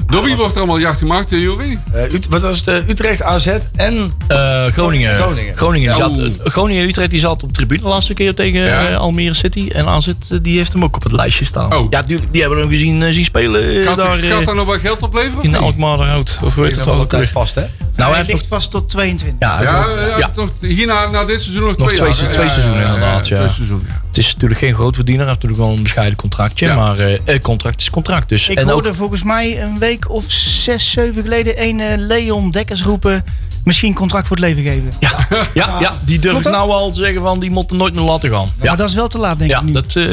S3: Door wie wordt er allemaal jacht gemaakt, eh, Jury?
S4: Eh, Ut- wat was het? eh, Utrecht, AZ en...
S2: Eh, Groningen.
S4: Groningen.
S2: Groningen, die
S3: Ja,
S2: zat, eh,
S3: oeh.
S2: Groningen Utrecht die zat op de tribune de laatste keer tegen
S3: Ja.
S2: eh, Almere City. En AZ eh, die heeft hem ook op het lijstje staan.
S3: Oh.
S2: Ja, die, die hebben hem gezien, eh, zien spelen eh,
S3: Gaat,
S2: daar eh,
S3: gaat daar nog wat geld opleveren? of
S2: in de
S3: niet?
S2: Alkmaarderhout. Of hoe heet
S4: Ik
S2: het
S4: ben wel
S2: ook
S4: tijd
S2: weer?
S4: vast, hè?
S2: Nou, hij
S5: Hij
S2: heeft nog,
S5: ligt vast tot 22.
S2: ja, hij
S3: ja,
S2: heeft nog-
S3: ja,
S2: ja.
S3: Nog, hierna, na dit seizoen nog,
S2: Nog
S3: twee
S2: twee
S3: jaar, hè?
S2: se- twee
S3: Ja,
S2: seizoenen inderdaad,
S3: Twee
S2: ja.
S3: seizoenen, ja.
S2: Het is natuurlijk geen groot verdiener. Hij heeft natuurlijk wel een bescheiden contractje.
S3: Ja.
S2: Maar eh, eh, contract is contract. Dus.
S5: Ik
S2: en ook
S5: hoorde volgens mij een week of zes, zeven geleden een eh, Leon Dekkers roepen... misschien contract voor het leven geven.
S2: Ja, ja die durf
S5: Klopt
S2: ik
S5: dat?
S2: nou al te zeggen van die moeten nooit naar laten gaan. Ja,
S5: Maar dat is wel te laat, denk
S2: ja
S5: ik nu.
S2: dat. eh,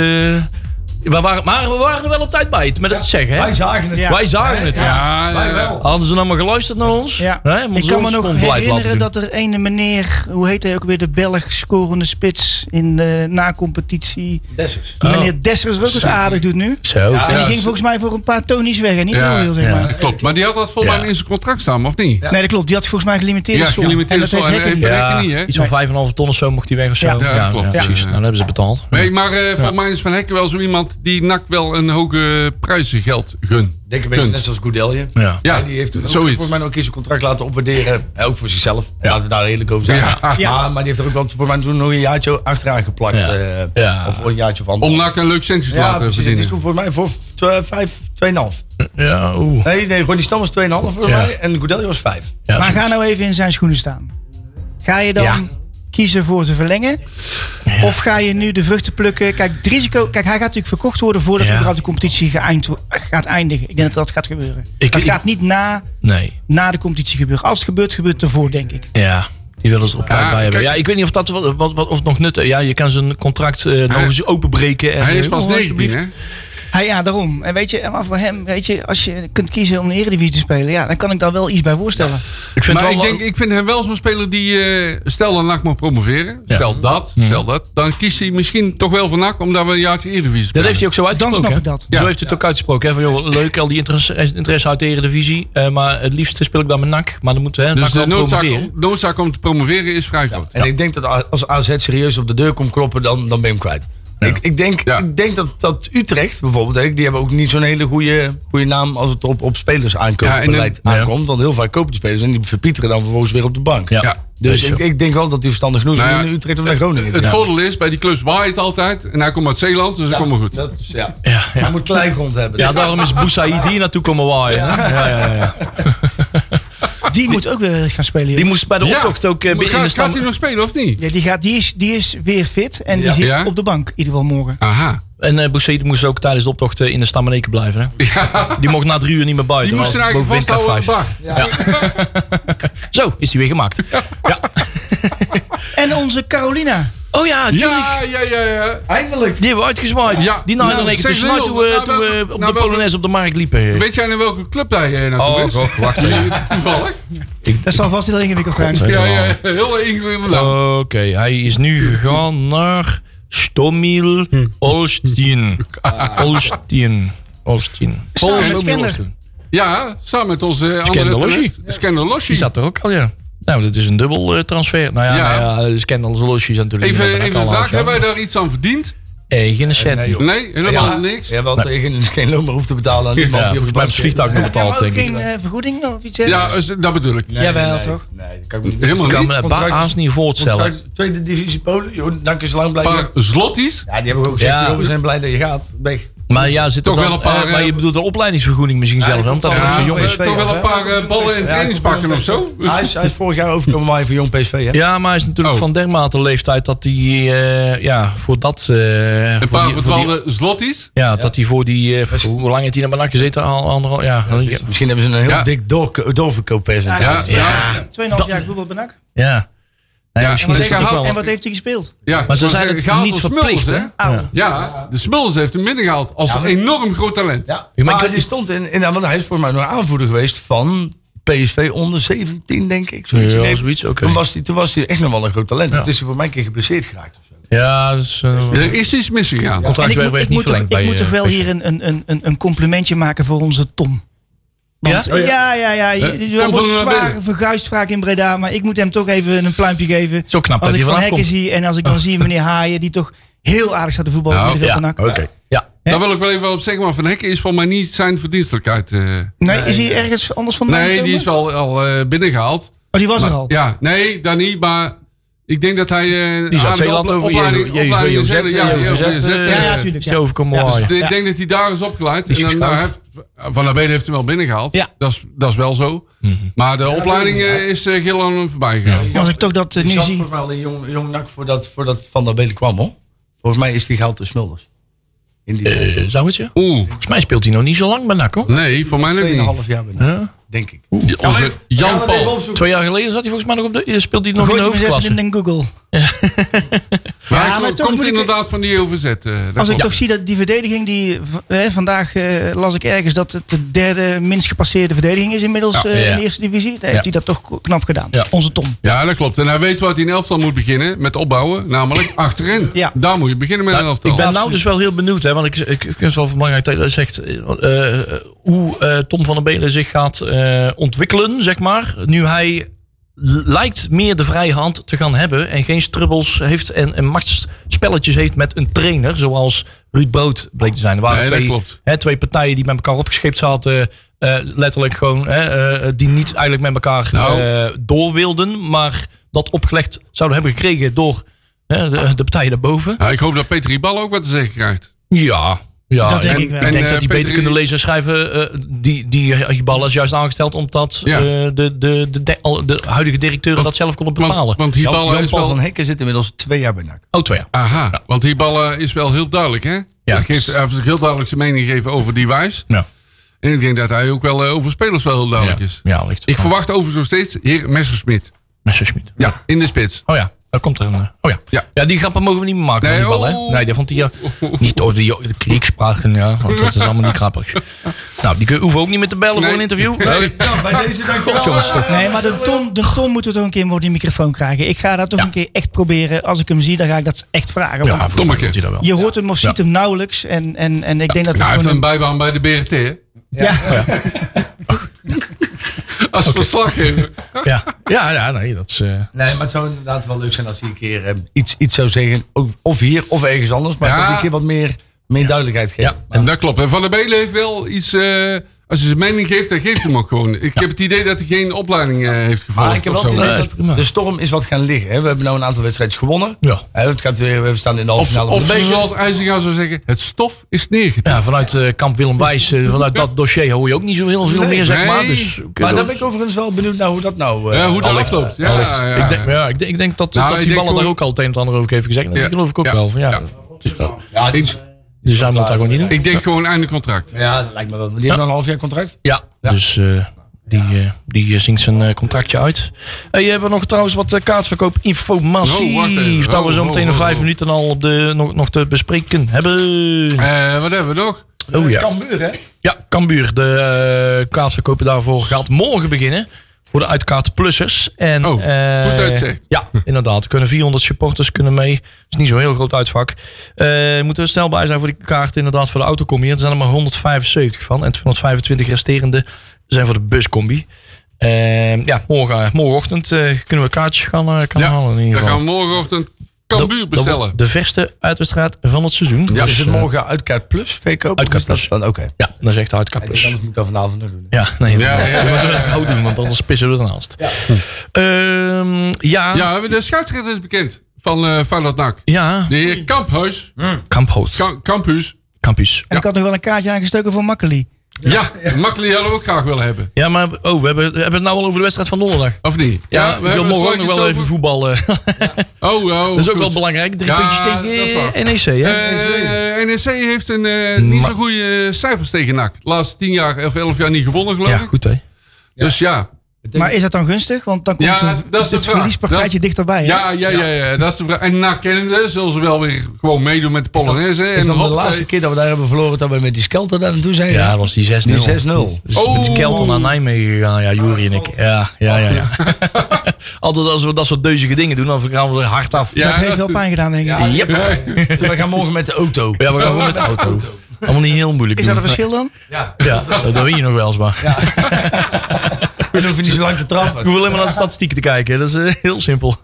S2: we waren, maar we waren er wel op tijd bij, het, met het zeggen. Hè?
S4: Wij zagen het.
S5: Ja.
S2: Wij zagen het.
S3: Ja, ja,
S4: Wij
S3: ja.
S4: wel.
S2: Hadden ze nou maar geluisterd naar ons?
S5: Ja.
S2: Hè? Moeten
S5: Ik
S2: ze
S5: kan me
S2: ons
S5: nog
S2: gewoon beleid laten
S5: herinneren
S2: doen.
S5: dat er ene meneer, hoe heet hij ook weer, de Belg scorende spits in de na-competitie.
S4: Dessers.
S2: Oh.
S5: Meneer Dessers ook eens aardig doet nu.
S2: Zo.
S5: En
S2: Ja.
S5: die
S3: Ja,
S5: ging
S3: ze-
S5: volgens mij voor een paar tonies weg. En niet
S3: Ja,
S5: heel heel, zeg
S2: ja.
S5: maar.
S3: Klopt, maar die had dat volgens mij
S2: Ja.
S3: in zijn contract staan, of niet?
S5: Nee, dat klopt. Die had volgens mij gelimiteerde
S3: Ja,
S5: som.
S3: gelimiteerde
S5: En dat
S3: som.
S5: heeft
S3: En-
S5: Hekken
S3: en-
S5: niet.
S3: Werken niet, hè?
S2: iets van 5,5 ton of zo mocht hij weg of zo.
S5: Ja.
S3: Ja, klopt. Ja.
S2: precies. Nou, dan hebben ze betaald.
S3: Nee, maar eh, volgens mij is Van Hekken wel zo iemand die NAC wel een hoge prijzengeld gun.
S4: Denk een beetje
S3: Punt.
S4: net zoals Goudelje.
S2: Ja.
S3: Ja,
S4: Hè, die heeft toen ook,
S3: zoiets.
S4: volgens mij ook eens zijn contract laten opwaarderen. Hè, ook voor zichzelf. Laten we daar eerlijk over zijn.
S3: Ja.
S4: Maar- Maar, die heeft er ook wel voor mij toen nog een jaartje achteraan geplakt.
S2: Ja.
S4: eh,
S2: Ja.
S4: Of een jaartje van.
S3: Om NAC een leuk centje te
S4: ja,
S3: laten
S4: precies. Die is
S3: verdienen.
S4: toen voor mij voor tw- eh, vijf, 2,5.
S2: Ja, oeh.
S4: Nee, nee, gewoon die stam was 2,5 voor
S2: Ja.
S4: mij. En Goudelje was 5.
S2: Ja,
S5: Maar ga nou even in zijn schoenen staan. Ga je dan
S2: Ja.
S5: kiezen voor te verlengen? Of ga je nu de vruchten plukken? Kijk, het risico, kijk hij gaat natuurlijk verkocht worden voordat
S2: Ja.
S5: überhaupt de competitie geëind wo- gaat eindigen. Ik denk dat dat gaat gebeuren.
S2: Ik-
S5: het
S2: ik-
S5: gaat niet na,
S2: Nee.
S5: na de competitie gebeuren. Als het gebeurt, gebeurt het ervoor, denk ik.
S2: Ja. Die willen ze op tijd
S3: Ja,
S2: bij hebben.
S3: kijk-
S2: Ja, ik weet niet of dat wat, wat, wat- of het nog nut. Ja, je kan zijn contract eh, nog eens openbreken. En,
S3: Hij is
S2: eh,
S3: pas
S2: oh,
S3: 19, hè?
S5: Ja, ja, daarom. En weet je, en maar voor hem, weet je, als je kunt kiezen om de Eredivisie te spelen, ja, dan kan ik daar wel iets bij voorstellen.
S2: Ik vind
S3: Maar
S2: het
S3: ik,
S2: wel
S3: denk, ik vind hem wel zo'n speler die, eh, stel dat NAC mag promoveren, stel dat,
S2: Mhm.
S3: stel dat, dan kiest hij misschien toch wel voor NAC, omdat we een jaartje eerder spelen.
S2: Dat heeft hij ook zo uitgesproken.
S5: snap ik
S2: hè?
S5: dat.
S2: Zo heeft hij het ook uitgesproken. Hè? Van, joh, leuk, al die interesse, interesse uit de Eredivisie. eh, maar het liefst speel ik dan mijn NAC. Maar dan moeten we hè,
S3: Dus
S2: NAC
S3: de
S2: wel
S3: noodzaak,
S2: promoveren.
S3: noodzaak om te promoveren is vrij groot.
S4: En ik denk dat a- als AZ serieus op de deur komt kloppen, dan, dan ben je hem kwijt. Ik, ik denk,
S3: Ja.
S4: ik denk dat, dat Utrecht bijvoorbeeld, hè, die hebben ook niet zo'n hele goede, goede naam als het op, op spelers aankoopbeleid
S3: Ja, en de-
S4: aankomt. Want heel vaak kopen die spelers en die verpieteren dan vervolgens weer op de bank.
S2: Ja.
S3: Ja.
S4: Dus
S2: Weet
S4: ik,
S2: je.
S4: ik denk wel dat hij verstandig genoeg is
S3: Nou
S4: om
S3: ja,
S4: in Utrecht of naar Groningen te
S3: Het
S4: gaan.
S3: voordeel is, bij die clubs waait altijd, en hij komt uit Zeeland, dus dat komt wel goed.
S4: Dat is- ja.
S2: Ja,
S4: Hij
S2: ja.
S4: moet kleingrond hebben.
S2: ja, daarom is Boussaïd hier naartoe komen waaien. hè? Ja, ja, ja, ja.
S5: Die moet ook weer gaan spelen. joh.
S2: Die moest bij de
S3: Ja.
S2: optocht ook eh,
S3: Maar
S2: binnen in
S3: gaat,
S2: de
S3: gaat hij
S2: stand.
S3: nog spelen of niet?
S5: Ja, die, gaat, die, is, die is weer fit en die
S4: Ja.
S5: zit
S3: Ja.
S5: op de bank, in ieder geval morgen.
S3: Aha.
S2: En eh Boussaïd moest ook tijdens de optocht eh, in de stammeneken blijven. Hè? Die mocht na drie uur niet meer buiten.
S3: Die moest er
S2: want
S3: eigenlijk
S2: boven
S3: vasthouden aan de
S2: windkracht
S3: bar.
S2: vijf. Zo, is hij weer gemaakt. Ja.
S5: En onze Carolina.
S2: Oh ja, natuurlijk.
S3: Ja, ja, ja, ja.
S4: Eindelijk.
S2: Die hebben we uitgezwaaid.
S3: Ja.
S2: Die naaide
S3: Nou,
S2: dan even
S3: zeg
S2: tussenuit
S3: eens,
S2: toen we,
S3: nou,
S2: toen we
S3: welke-
S2: eh, op
S3: nou,
S2: de
S3: welke-
S2: Polonaise op de markt liepen.
S3: Weet jij naar welke club daar je naartoe
S2: Oh,
S3: is?
S2: god, wacht even.
S3: Toevallig.
S5: Dat zal vast heel ingewikkeld zijn.
S2: Zeker
S3: Ja,
S2: wel.
S3: ja, ja. heel ingewikkeld. naam.
S2: Oké, hij is nu gegaan naar Stomiel Olstien. Olstien. Olstien.
S5: Samen met
S2: Stomiel
S5: Skender.
S2: Olstien.
S3: Ja, samen met onze andere
S2: Scandalossi.
S3: talent, Scandalossi.
S2: Die zat er ook al, ja. Nou, dat is een dubbel eh, transfer. Nou ja,
S3: Ja.
S2: Nou ja Scandal Zolosje is natuurlijk...
S3: Even,
S2: die hebben
S3: even
S2: ook
S3: een
S2: al half
S3: vraag, hebben wij
S2: jaar.
S3: daar iets aan verdiend?
S2: Eh, geen cent.
S4: Nee, joh.
S3: Nee, helemaal niks.
S4: Ja, want tegen geen loon meer hoeft te betalen aan iemand
S2: Ja,
S4: die op
S2: volgens
S4: de
S2: mij
S4: bank
S2: heeft het vliegtuig nog
S5: Ja,
S2: betaald,
S5: maar ook
S2: denk ik.
S5: geen eh, vergoeding of iets
S3: Ja,
S5: dergelijks?
S3: dus dat bedoel ik.
S4: Nee,
S5: Jawel,
S4: nee,
S5: toch?
S4: Nee, dat kan ik me niet
S3: Helemaal
S2: Ik kan
S3: niet.
S2: me
S4: contract-
S2: baas niet voorstellen.
S4: Contract- Tweede divisie Polen, joh, dan kun je zo lang
S3: Een
S4: blijven.
S3: paar zlotties.
S4: Ja, die hebben we ook gezegd.
S2: Ja.
S4: joh, we zijn blij dat je gaat. Weg.
S2: Maar ja, zit er
S3: Toch
S2: dan,
S3: wel een paar,
S2: eh, maar
S3: eh,
S2: je bedoelt een opleidingsvergoeding misschien
S4: Ja,
S2: zelf, hè?
S4: ik
S2: want dat
S4: vond-
S2: is
S3: Ja,
S2: een
S4: ja,
S2: jong
S3: eh,
S2: is.
S4: PSV
S3: toch wel
S4: af,
S3: een
S4: hè?
S3: paar eh, ballen en
S4: Ja,
S3: trainingspakken of zo.
S4: Hij is, hij is vorig jaar overgekomen maar even jong PSV. Hè?
S2: Ja, maar hij is natuurlijk
S3: Oh.
S2: van dermate leeftijd dat hij eh, ja, voor dat... eh,
S3: Een
S2: voor
S3: paar
S2: die- voor die-
S3: verdwaalde zlotties.
S2: Ja, dat hij voor die... eh, voor- hoe lang heeft hij naar Manak gezeten? Al, anderhalf ja, ja,
S4: Dus Misschien hebben ze een heel
S3: Ja.
S4: dik doorko- doorverkooppercentage.
S3: Ja, ja.
S2: ja.
S5: 2,5 jaar voetbalbenak.
S2: ja. Nee,
S3: Ja,
S2: misschien
S3: maar
S2: is
S3: ze
S2: het ook
S3: gaan-
S2: wel...
S5: En wat heeft hij gespeeld?
S3: ja.
S2: Maar ze zijn
S3: zeggen,
S2: het
S3: gehaald
S2: niet
S3: door
S2: verplicht,
S3: Smulders,
S2: hè?
S3: hè?
S5: Au.
S3: Ja, de Smulders heeft hem binnengehaald als een enorm groot talent.
S4: Ja.
S2: Ja, maar
S4: Maar,
S2: ik-
S4: die stond in, in, want hij is voor mij nog aanvoerder geweest van PSV onder 17, denk ik. Zoiets.
S2: Ja,
S4: Ik denk-
S2: zoiets, oké.
S4: Toen, was hij, toen was hij echt nog wel een groot talent. Toen is hij voor mij een keer geblesseerd geraakt. Of zo.
S2: Ja, dus... eh,
S3: Er is iets misgegaan.
S5: En ik,
S2: Contract
S5: moet-
S2: werd
S5: ik
S2: werd niet
S5: moet, toch,
S2: verlengd bij...
S5: ik moet toch
S2: eh,
S5: wel
S2: PSV.
S5: hier een, een, een- een, een complimentje maken voor onze Tom. Want,
S2: Ja?
S5: ja? ja, ja, ja. je-
S3: Eh,
S5: je
S3: Tom
S5: wordt
S3: van der
S5: zwaar
S3: Bellen.
S5: verguisd vaak in Breda, maar ik moet hem toch even een pluimpje geven.
S2: Zo knap
S5: als
S2: dat
S5: ik
S2: hij
S5: Van
S2: vanaf
S5: Hekken
S2: komt. Oh.
S5: zie en als ik dan zie meneer Haaien, die toch heel aardig staat te voetballen.
S3: Nou,
S5: in de
S2: Ja, Oh, oké. Ja.
S3: Daar wil ik wel even op zeggen, maar Van Hekken is voor mij niet zijn verdienstelijkheid. eh.
S5: Nee, is hij ergens anders vandaan
S3: Nee, die
S5: gekomen?
S3: is wel al eh, binnengehaald.
S5: Oh, die was er al.
S3: Ja, nee, dat niet, maar ik denk dat hij... eh,
S2: Die zat
S3: aan de
S2: Zeeland
S3: ople-
S2: over
S3: opleiding-
S2: JVZ,
S3: opleiding
S2: JVZ,
S3: Zeeland, ja,
S2: JVZ,
S3: JVZ,
S2: eh,
S3: eh,
S5: Ja, ja,
S2: Die
S5: tuurlijk.
S2: is Zo komen
S5: Ja, dus
S2: waaien.
S3: Ik
S5: Ja.
S3: denk dat hij daar is opgeleid.
S2: Oh, Die is
S3: en dan, nou,
S2: gescout.
S3: heeft- van der Beden heeft hem wel binnengehaald.
S5: Ja.
S3: Dat, is, dat is wel zo.
S2: Mhm.
S3: Maar de opleiding eh, is eh, geel aan hem voorbij gegaan.
S5: Maar Als ik toch dat eh,
S4: Die
S5: nu
S4: zat
S5: zie.
S4: voor mij al een jong, jong nak voordat, voordat Van der Belen kwam, hoor. Volgens mij is die gehaald door Smulders. In die
S2: Eh, Zou het je?
S3: Oeh,
S2: Volgens mij speelt hij nog niet zo lang bij NAC, hoor.
S3: nee, voor mij ook niet.
S4: 2,5 jaar binnen, denk ik.
S3: Onze Jan-Paul.
S2: Twee jaar geleden zat hij volgens mij nog op de... eh, Speelde hij nog in
S5: Gooi
S2: de
S5: hem eens even
S2: hoofdklasse.
S5: in de Google.
S3: Maar
S5: Ja,
S3: hij
S5: maar toch
S3: komt
S5: moet ik-
S3: inderdaad van die overzet. eh,
S5: Als ik toch zie dat die verdediging die v- hè, vandaag eh, las ik ergens dat het de derde minst gepasseerde verdediging is inmiddels
S2: Ja.
S5: eh, in
S2: Ja.
S5: de eerste divisie, dan heeft
S2: Ja.
S5: hij dat toch ko- knap gedaan.
S2: Ja.
S5: Onze Tom.
S3: Ja, dat klopt. En hij weet wat hij in elftal moet beginnen met opbouwen. Namelijk achterin.
S5: Ja.
S3: Daar moet je beginnen met een elftal.
S2: Ik ben nou dus wel heel benieuwd, hè, want ik, ik, ik vind het wel belangrijk dat je dat zegt. eh, eh, hoe eh, Tom van der Belen zich gaat eh, ontwikkelen, zeg maar. Nu hij l- lijkt meer de vrije hand te gaan hebben. En geen strubbels heeft en, en machtsspelletjes heeft met een trainer. Zoals Ruud Brood bleek te zijn. Er waren
S3: Nee, dat
S2: twee,
S3: klopt.
S2: hè, twee partijen die met elkaar opgescheept zaten. eh, letterlijk gewoon, hè, eh, die niet eigenlijk met elkaar
S3: Nou.
S2: eh, door wilden. Maar dat opgelegd zouden hebben gekregen door hè, de, de partijen daarboven.
S3: Ja, ik hoop dat Peter Ribal ook wat te zeggen krijgt.
S2: Ja, Ja,
S5: Dat denk
S2: en-
S5: ik wel.
S2: ik
S3: En,
S2: denk
S3: eh,
S2: dat die
S3: Peter,
S2: beter kunnen
S3: i-
S2: lezen en schrijven. eh, die, die, die bal is juist aangesteld omdat
S3: Ja.
S2: eh, de, de, de, de, al- de huidige directeuren dat zelf konden bepalen.
S3: Want, want Hiballa
S4: Jan
S3: is
S4: Paul
S3: wel...
S4: van Hekken zit inmiddels twee jaar bij NAC.
S2: oh, twee jaar.
S3: Aha, want Hiballa is wel heel duidelijk, hè? Ja. Geeft, hij heeft ook heel duidelijk zijn mening gegeven over die wijs.
S2: Ja.
S3: En ik denk dat hij ook wel eh, over spelers wel heel
S2: Oh, Ja,
S3: duidelijk is.
S2: ja ligt.
S3: Ik verwacht overigens nog steeds heer Messerschmidt.
S2: Messerschmidt.
S3: Ja, in de spits.
S2: Oh ja, daar komt er een. eh, Oh ja.
S3: Ja.
S2: die grappen mogen we niet meer maken.
S3: Nee,
S2: Nee, die bal,
S3: oh.
S2: hè? nee dat vond hij ja. Niet over die de kriegspraken, ja. Want dat is allemaal niet grappig. Nou, die kun- hoeven we ook niet meer te bellen
S3: Nee.
S2: voor een interview.
S3: Nee.
S2: Nee.
S4: Ja, bij deze dank Eh,
S2: God, jongens. toch.
S5: Nee, maar de Tom, de Tom moet er toch een keer voor die microfoon krijgen. Ik ga dat toch
S2: Ja.
S5: een keer echt proberen. Als ik hem zie, dan ga ik dat echt vragen. Want
S2: Ja, volgens mij
S3: Tommeke.
S2: komt hij daar wel.
S5: je hoort hem of ziet
S2: Ja.
S5: hem nauwelijks. En, en, en ik denk dat het
S3: Nou, hij heeft
S5: gewoon...
S3: een bijbaan bij de BRT, hè?
S5: Ja.
S3: Als verslaggever.
S2: Ja, ja, ja, nee, dat is. eh,
S4: Nee, maar het zou inderdaad wel leuk zijn als hij een keer eh, iets, iets zou zeggen. Ook- Of hier of ergens anders. Maar
S3: Ja.
S4: dat hij een keer wat meer, meer duidelijkheid geeft.
S2: Ja.
S4: Maar-
S3: En dat klopt. En Van der Belen heeft wel iets... eh, als hij zijn mening geeft, dan geeft hij hem ook gewoon. Ik heb het idee dat hij geen opleiding eh, heeft gevolgd.
S4: Maar ik heb wel
S3: of
S4: het
S3: zo.
S4: idee
S2: Nee,
S4: dat
S2: is prima.
S4: de storm is wat gaan liggen. Hè. We hebben nou een aantal wedstrijden gewonnen.
S2: Ja.
S4: Hè, het gaat weer, we staan in de halve
S3: Of,
S4: finale.
S3: of
S4: van de beker.
S3: zoals IJzinga zou zeggen, het stof is neergedaan.
S2: Ja, vanuit eh, kamp Willem Wijs, eh, vanuit dat dossier hoor je ook niet zo heel veel
S4: Nee.
S2: meer, zeg maar.
S3: Nee.
S2: Dus,
S4: maar daar ben ik overigens wel benieuwd naar hoe dat nou... eh,
S3: Ja, hoe dat
S4: Alex-
S3: afloopt. Ja,
S2: Alex,
S3: ja,
S2: Ik, denk, ja, ik, denk, ik denk dat,
S3: Nou,
S2: dat
S3: ik
S2: die
S3: denk
S2: ballen daar
S3: gewoon-
S2: ook al het een en ander over heeft gezegd. Dat
S3: Ja.
S2: geloof ik ook
S3: Ja.
S2: wel. van, Ja,
S3: Ja.
S2: Het is wel-
S4: Ja, die-
S2: Dus zij moet dat gewoon niet doen.
S3: Ik denk gewoon einde contract.
S4: ja, dat lijkt me wel. Die hebben dan een half jaar contract.
S2: Ja, dus eh, die, eh, die eh, zingt zijn eh, contractje uit. Hey, je hebt nog trouwens wat eh, kaartverkoopinformatie.
S3: Oh, wacht even.
S2: Vertellen we
S3: Oh,
S2: zo
S3: oh,
S2: meteen
S3: oh,
S2: in vijf
S3: oh.
S2: minuten al op de, nog, nog te bespreken hebben.
S3: Eh, wat hebben we nog?
S2: Oh ja.
S4: Cambuur, hè?
S2: Ja, Cambuur. De eh kaartverkopen daarvoor gaat morgen beginnen. Voor de uitkaartplussers. En,
S3: Oh,
S2: eh,
S3: goed uitzicht.
S2: Ja, inderdaad. Er kunnen 400 supporters kunnen mee. Dat is niet zo'n heel groot uitvak. Eh moeten we snel bij zijn voor die kaarten. Inderdaad, voor de autocombi. Er zijn er maar 175 van. En 225 resterende zijn voor de buscombi. Eh, ja, morgen, morgenochtend eh, kunnen we kaartjes gaan, eh, gaan halen. In ieder
S3: dan gaan
S2: geval.
S3: we morgenochtend Cambuur
S2: Dat- dat wordt
S3: bestellen.
S2: De verste uitwedstrijd van het seizoen.
S3: Ja,
S2: Dus,
S4: Is het
S2: eh,
S4: morgen Uitkaart Plus, verkoop?
S2: Uitkaart
S4: Of is
S2: Plus.
S4: dat dan- Oké. Okay.
S2: ja, dat is echt de uitkaartplus.
S4: Anders moet ik dat vanavond nog doen.
S2: Ja, nee,
S3: Ja,
S2: dat
S3: ja, ja,
S2: moeten we
S3: ja,
S2: het nou doen, want anders pissen we ernaast. Ja, Ehm, ja, ja.
S3: Ja, de scheidsrechter is bekend van eh Feyenoord NAC. De heer Kamphuis.
S2: Kamphoofd.
S3: Ka- Kamphuis.
S2: Kampies.
S5: En ik had nog wel een kaartje aangestoken voor Makkeli.
S3: Ja, Makkeli hadden we ook graag willen hebben.
S2: Ja, maar oh, we hebben, we hebben het nou al over de wedstrijd van donderdag.
S3: Of niet?
S2: Ja, we
S3: hebben
S2: willen morgen ook
S3: straks
S2: nog wel
S3: iets
S2: even voetballen.
S3: over- Oh, oh,
S2: dat is ook
S3: goed.
S2: wel belangrijk. Drie
S3: Ja,
S2: puntjes
S3: dat is
S2: tegen
S3: waar.
S2: eh, NEC, hè?
S5: E
S3: Eh,
S2: E
S3: NEC heeft een, eh, niet zo goede cijfers tegen NAC. De laatste tien jaar of elf jaar niet gewonnen, geloof
S2: ja,
S3: ik.
S2: goed, hè?
S3: Dus ja.
S5: Maar is dat dan gunstig? Want dan komt
S3: Ja,
S5: een-
S3: dat is de
S5: het
S3: vraag.
S5: verliespartijtje
S3: Dat is-
S5: dichterbij. hè?
S3: Ja, ja, ja, ja, dat is de vraag. En NAC kennende zullen ze wel weer gewoon meedoen met de Polonaise.
S4: Is
S3: en
S4: dan de
S3: hop,
S4: laatste
S3: eh,
S4: keer dat we daar hebben verloren dat we met die Skelter daar naartoe zijn?
S2: Ja, dat was die 6-0.
S4: Die 6-0.
S2: Dus oh. met
S3: Oh.
S2: Kelton naar Nijmegen gegaan, ja, Juri en ik. Ja, ja, ja. Oh, ja. Altijd als we dat soort deuzige dingen doen, dan gaan we er hard af.
S3: Ja,
S5: dat heeft wel pijn gedaan, denk ik.
S2: Yep.
S4: Dus we gaan morgen met de auto.
S2: Ja, we gaan gewoon met de auto. Allemaal niet heel moeilijk
S5: Is dat een
S2: doen.
S5: verschil dan?
S4: Ja.
S2: Ja, dat win je nog wel eens maar.
S4: En dan hoef je niet zo lang te
S2: Ik
S4: trappen.
S2: hoef alleen maar naar de statistieken te kijken. Dat is eh, heel simpel.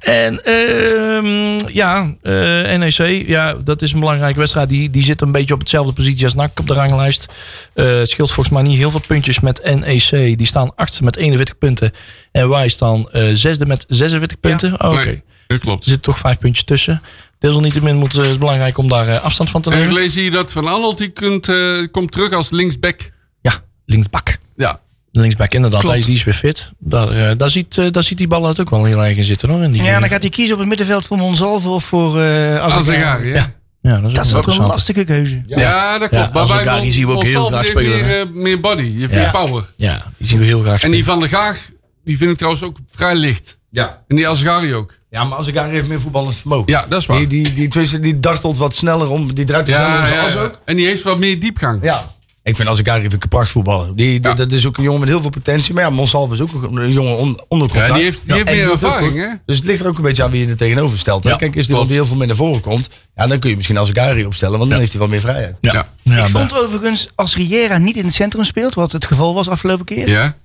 S2: en ehm, ja, eh, NEC, ja, dat is een belangrijke wedstrijd. Die, die zit een beetje op hetzelfde positie als NAC op de ranglijst. Eh, het scheelt volgens mij niet heel veel puntjes met NEC. Die staan achtste met 41 punten. En wij staan eh, zesde met 46 punten. Oh, Oké,
S3: Nee, dat klopt.
S2: er zitten toch vijf puntjes tussen. Desalniettemin moet, eh, is het belangrijk om daar eh, afstand van te
S3: En ik
S2: nemen.
S3: lees hier dat Van Arnold die kunt, eh, komt terug als linksback.
S2: ja, linksbak.
S3: Ja.
S2: Linksback inderdaad,
S3: Klopt.
S2: hij is, die is weer fit. Daar, eh, daar, ziet, eh, daar ziet die bal het ook wel heel erg in zitten. Hoor, in die
S5: Ja, dan gaat hij kiezen op het middenveld voor Monsalvo of voor eh Azegari.
S3: Azegari, hè?
S2: Ja. Ja, dat is,
S5: Dat is
S2: ook
S5: ook wel een
S2: interessant.
S5: lastige keuze.
S3: Ja, dat
S2: Ja,
S3: klopt. maar bij
S2: Azegari
S3: Mon-
S2: zien we ook heel
S3: Monsalve
S2: graag
S3: heeft
S2: spelen,
S3: Meer, eh, meer body, je hebt
S2: Ja.
S3: meer power.
S2: Ja, die zien we heel graag
S3: En
S2: spelen.
S3: die Van der Gaag, die vind ik trouwens ook vrij licht.
S4: Ja.
S3: En die Azegari ook.
S4: ja, maar als ik daar even meer voetballend vermogen.
S3: Ja, dat is waar.
S4: Die, die, die, die, die dartelt wat sneller om. Die draait wat sneller om
S3: ja,
S4: zijn
S3: ja,
S4: as
S3: ja.
S4: ook.
S3: En die heeft wat meer diepgang.
S4: Ja. Ik vind als ik daar even kapart voetballer. Die, die-
S3: Ja.
S4: Dat is ook een jongen met heel veel potentie. Maar ja, Monsalve is ook een een jongen on, onder contract.
S3: Ja, die heeft- die heeft
S4: en
S3: meer
S4: doet ook
S3: ervaring,
S4: goed.
S3: hè?
S4: Dus het ligt er ook een beetje aan wie je er tegenover stelt. hè.
S2: Ja,
S4: Kijk, is die
S3: klopt.
S4: iemand die heel veel meer naar voren komt, ja, dan kun je misschien als Azagari opstellen, want dan heeft hij wel meer vrijheid.
S2: ja.
S3: Ja.
S2: Ja,
S5: ik vond
S2: maar-
S5: overigens, als Riera niet in het centrum speelt, wat het geval was afgelopen keer,
S3: Ja,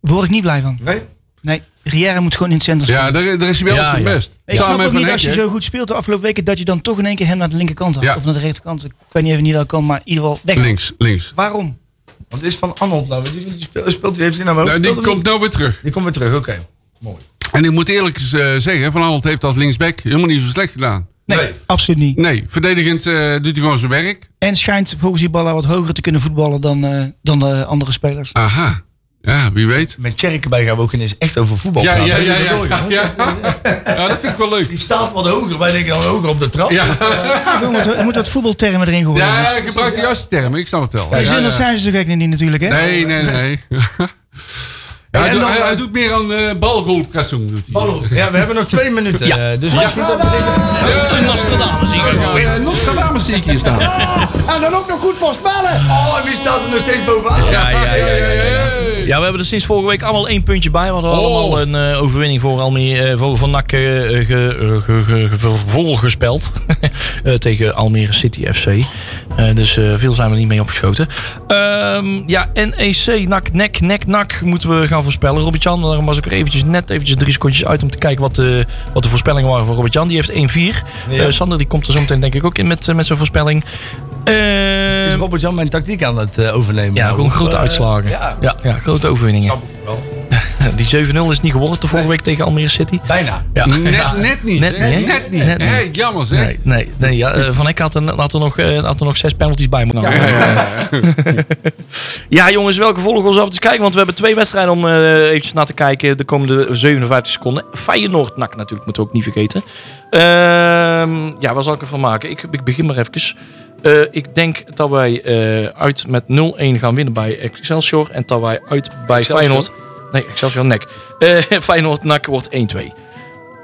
S5: word ik niet blij van.
S4: Nee?
S5: Nee, Riera moet gewoon in het centrum spelen.
S3: ja daar, daar is hij wel
S2: Ja,
S3: op zijn
S2: ja.
S3: best.
S5: Ik snap
S3: met
S5: ook
S3: Van
S5: niet als je
S3: Hekken.
S5: zo goed speelt de afgelopen weken dat je dan toch in één keer hem naar de linkerkant haalt.
S3: Ja.
S5: Of naar de rechterkant. Ik weet niet even niet wel kan, maar in ieder geval weg.
S3: Links, links.
S5: Waarom?
S4: Want is Van Anholt nou, die, die speelt, speelt die heeft hij nou maar ook
S3: Nou, die
S4: gespeeld of
S3: komt
S4: niet?
S3: nou weer terug.
S4: die komt weer terug, oké.
S3: En ik moet eerlijk eens, eh, zeggen, Van Arnold heeft als linksback helemaal niet zo slecht gedaan.
S5: Nee, absoluut niet.
S3: Nee, verdedigend eh, doet hij gewoon zijn werk.
S5: En schijnt volgens die ballen wat hoger te kunnen voetballen dan, eh, dan de andere spelers.
S3: Aha. Ja, wie weet.
S4: Met Tjerk erbij gaan we ook ineens echt over voetbal
S3: Ja,
S4: praten.
S3: ja, ja,
S4: Dat is
S3: ja.
S4: wel mooi,
S3: Ja,
S4: hoor.
S3: Ja, dat vind ik wel leuk.
S4: Die staat wat hoger, wij denken dan hoger op de trap.
S3: Ja,
S5: Er moet, er moet wat voetbaltermen erin geworden.
S3: Ah. ja
S5: Ja,
S3: hij gebruikt de juiste termen, ik snap het wel. Ja, ja.
S5: zijn ze zo gek niet natuurlijk, hè?
S3: Nee, nee, nee. Ja, hij, doet, hij, hij doet meer aan eh balrolpressing. Doet hij.
S4: Ja, we hebben nog twee minuten.
S2: Ja.
S4: eh, dus het is goed dat we dit-
S2: Een Nostradamus hier.
S3: Ja, ja, Nostradamus zie ik hier staan.
S8: En dan ook nog goed voorspellen.
S4: Oh, en wie staat er nog steeds bovenaan?
S2: Ja, ja, ja, ja, ja.
S3: Hey.
S2: Ja, we hebben er sinds vorige week allemaal één puntje bij. We hadden
S4: Oh.
S2: allemaal een eh, overwinning voor, Almere, eh, voor Van Nak eh, ge- ge- ge- ge- ge- volgespeld. Eh, tegen Almere City FC. Eh, dus eh, veel zijn we niet mee opgeschoten. Ehm, ja, NEC, NAC, NEC, NEC, NAC moeten we gaan voorspellen. Robert-Jan, daarom was ik er eventjes, net eventjes drie secondjes uit... om te kijken wat de, wat de voorspellingen waren voor Robert-Jan. Die heeft 1-4. Eh, Sander die komt er zo meteen denk ik ook in met, eh, met zijn voorspelling. Eh,
S4: Is Robert Jan mijn tactiek aan het eh, overnemen?
S2: ja,
S4: Nou,
S2: gewoon
S4: of,
S2: grote
S4: eh,
S2: uitslagen.
S4: Ja,
S2: Ja, ja, grote overwinningen. Die 7-0 is niet geworden de vorige week tegen Almere City.
S4: bijna.
S2: Ja.
S3: Net, net niet.
S2: Net
S3: Net,
S2: niet, hè?
S3: net, niet.
S2: Net niet.
S3: Hey, jammer zeg.
S2: Nee, nee, nee ja, eh, Van Eck had er, had, er nog, eh, had er nog zes penalties bij moeten halen. Ja, jongens, welke volgers af te kijken? Want we hebben twee wedstrijden om eh eventjes naar te kijken. De komende 57 seconden. Feyenoord NAC natuurlijk, moeten we ook niet vergeten. Ehm, ja, waar zal ik ervan maken? Ik, ik begin maar even. Eh, ik denk dat wij eh, uit met 0-1 gaan winnen bij Excelsior. En dat wij uit bij Feyenoord... Nee, Excelsior NAC. Eh Feyenoord NAC wordt 1-2.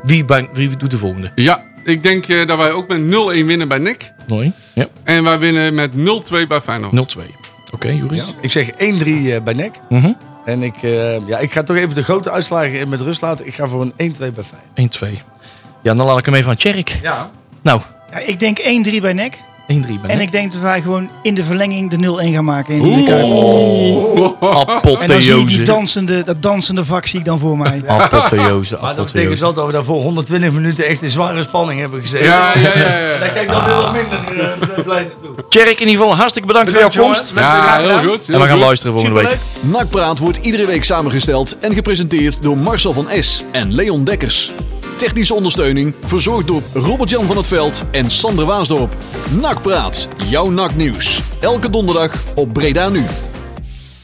S2: Wie, bij- wie doet de volgende?
S3: Ja, ik denk eh, dat wij ook met 0-1 winnen bij Nick.
S2: Nooi? Ja.
S3: En wij winnen met 0-2 bij Feyenoord.
S2: 0-2. Oké, Joris.
S4: Ik zeg 1-3 eh, bij NEC.
S2: Mhm.
S4: En ik, eh, ja, ik ga toch even de grote uitslagen in met rust laten. Ik ga voor een 1-2 bij 5.
S2: 1-2. Ja, dan laat ik hem even aan Tjerk.
S4: Ja.
S2: Nou,
S5: Ja, ik denk 1-3 bij NEC.
S2: 1-3 ben
S5: En
S3: Mhm.
S2: ik.
S5: ik denk dat wij gewoon in de verlenging de 0-1 gaan maken in de Kuip. En dan zie ik die
S2: Oh, Apotheose.
S5: dansende, dat dansende vak zie ik dan voor mij.
S2: Apotheose,
S4: Maar dat betekent
S2: apotheose.
S4: wel dat we daarvoor 120 minuten echt in zware spanning hebben gezeten.
S3: Ja, ja, ja. ja.
S4: Daar kijk ik dan wel minder eh, blij naartoe.
S2: Tjerk, in ieder geval hartstikke bedankt, voor jouw komst.
S3: Ja, heel goed.
S2: En we gaan
S3: luisteren.
S2: luisteren volgende week.
S1: Nakpraat wordt iedere week samengesteld en gepresenteerd door Marcel van S en Leon Dekkers. Technische ondersteuning verzorgd door Robert-Jan van het Veld en Sander Waasdorp. Nakpraat, jouw naknieuws. Elke donderdag op Breda Nu.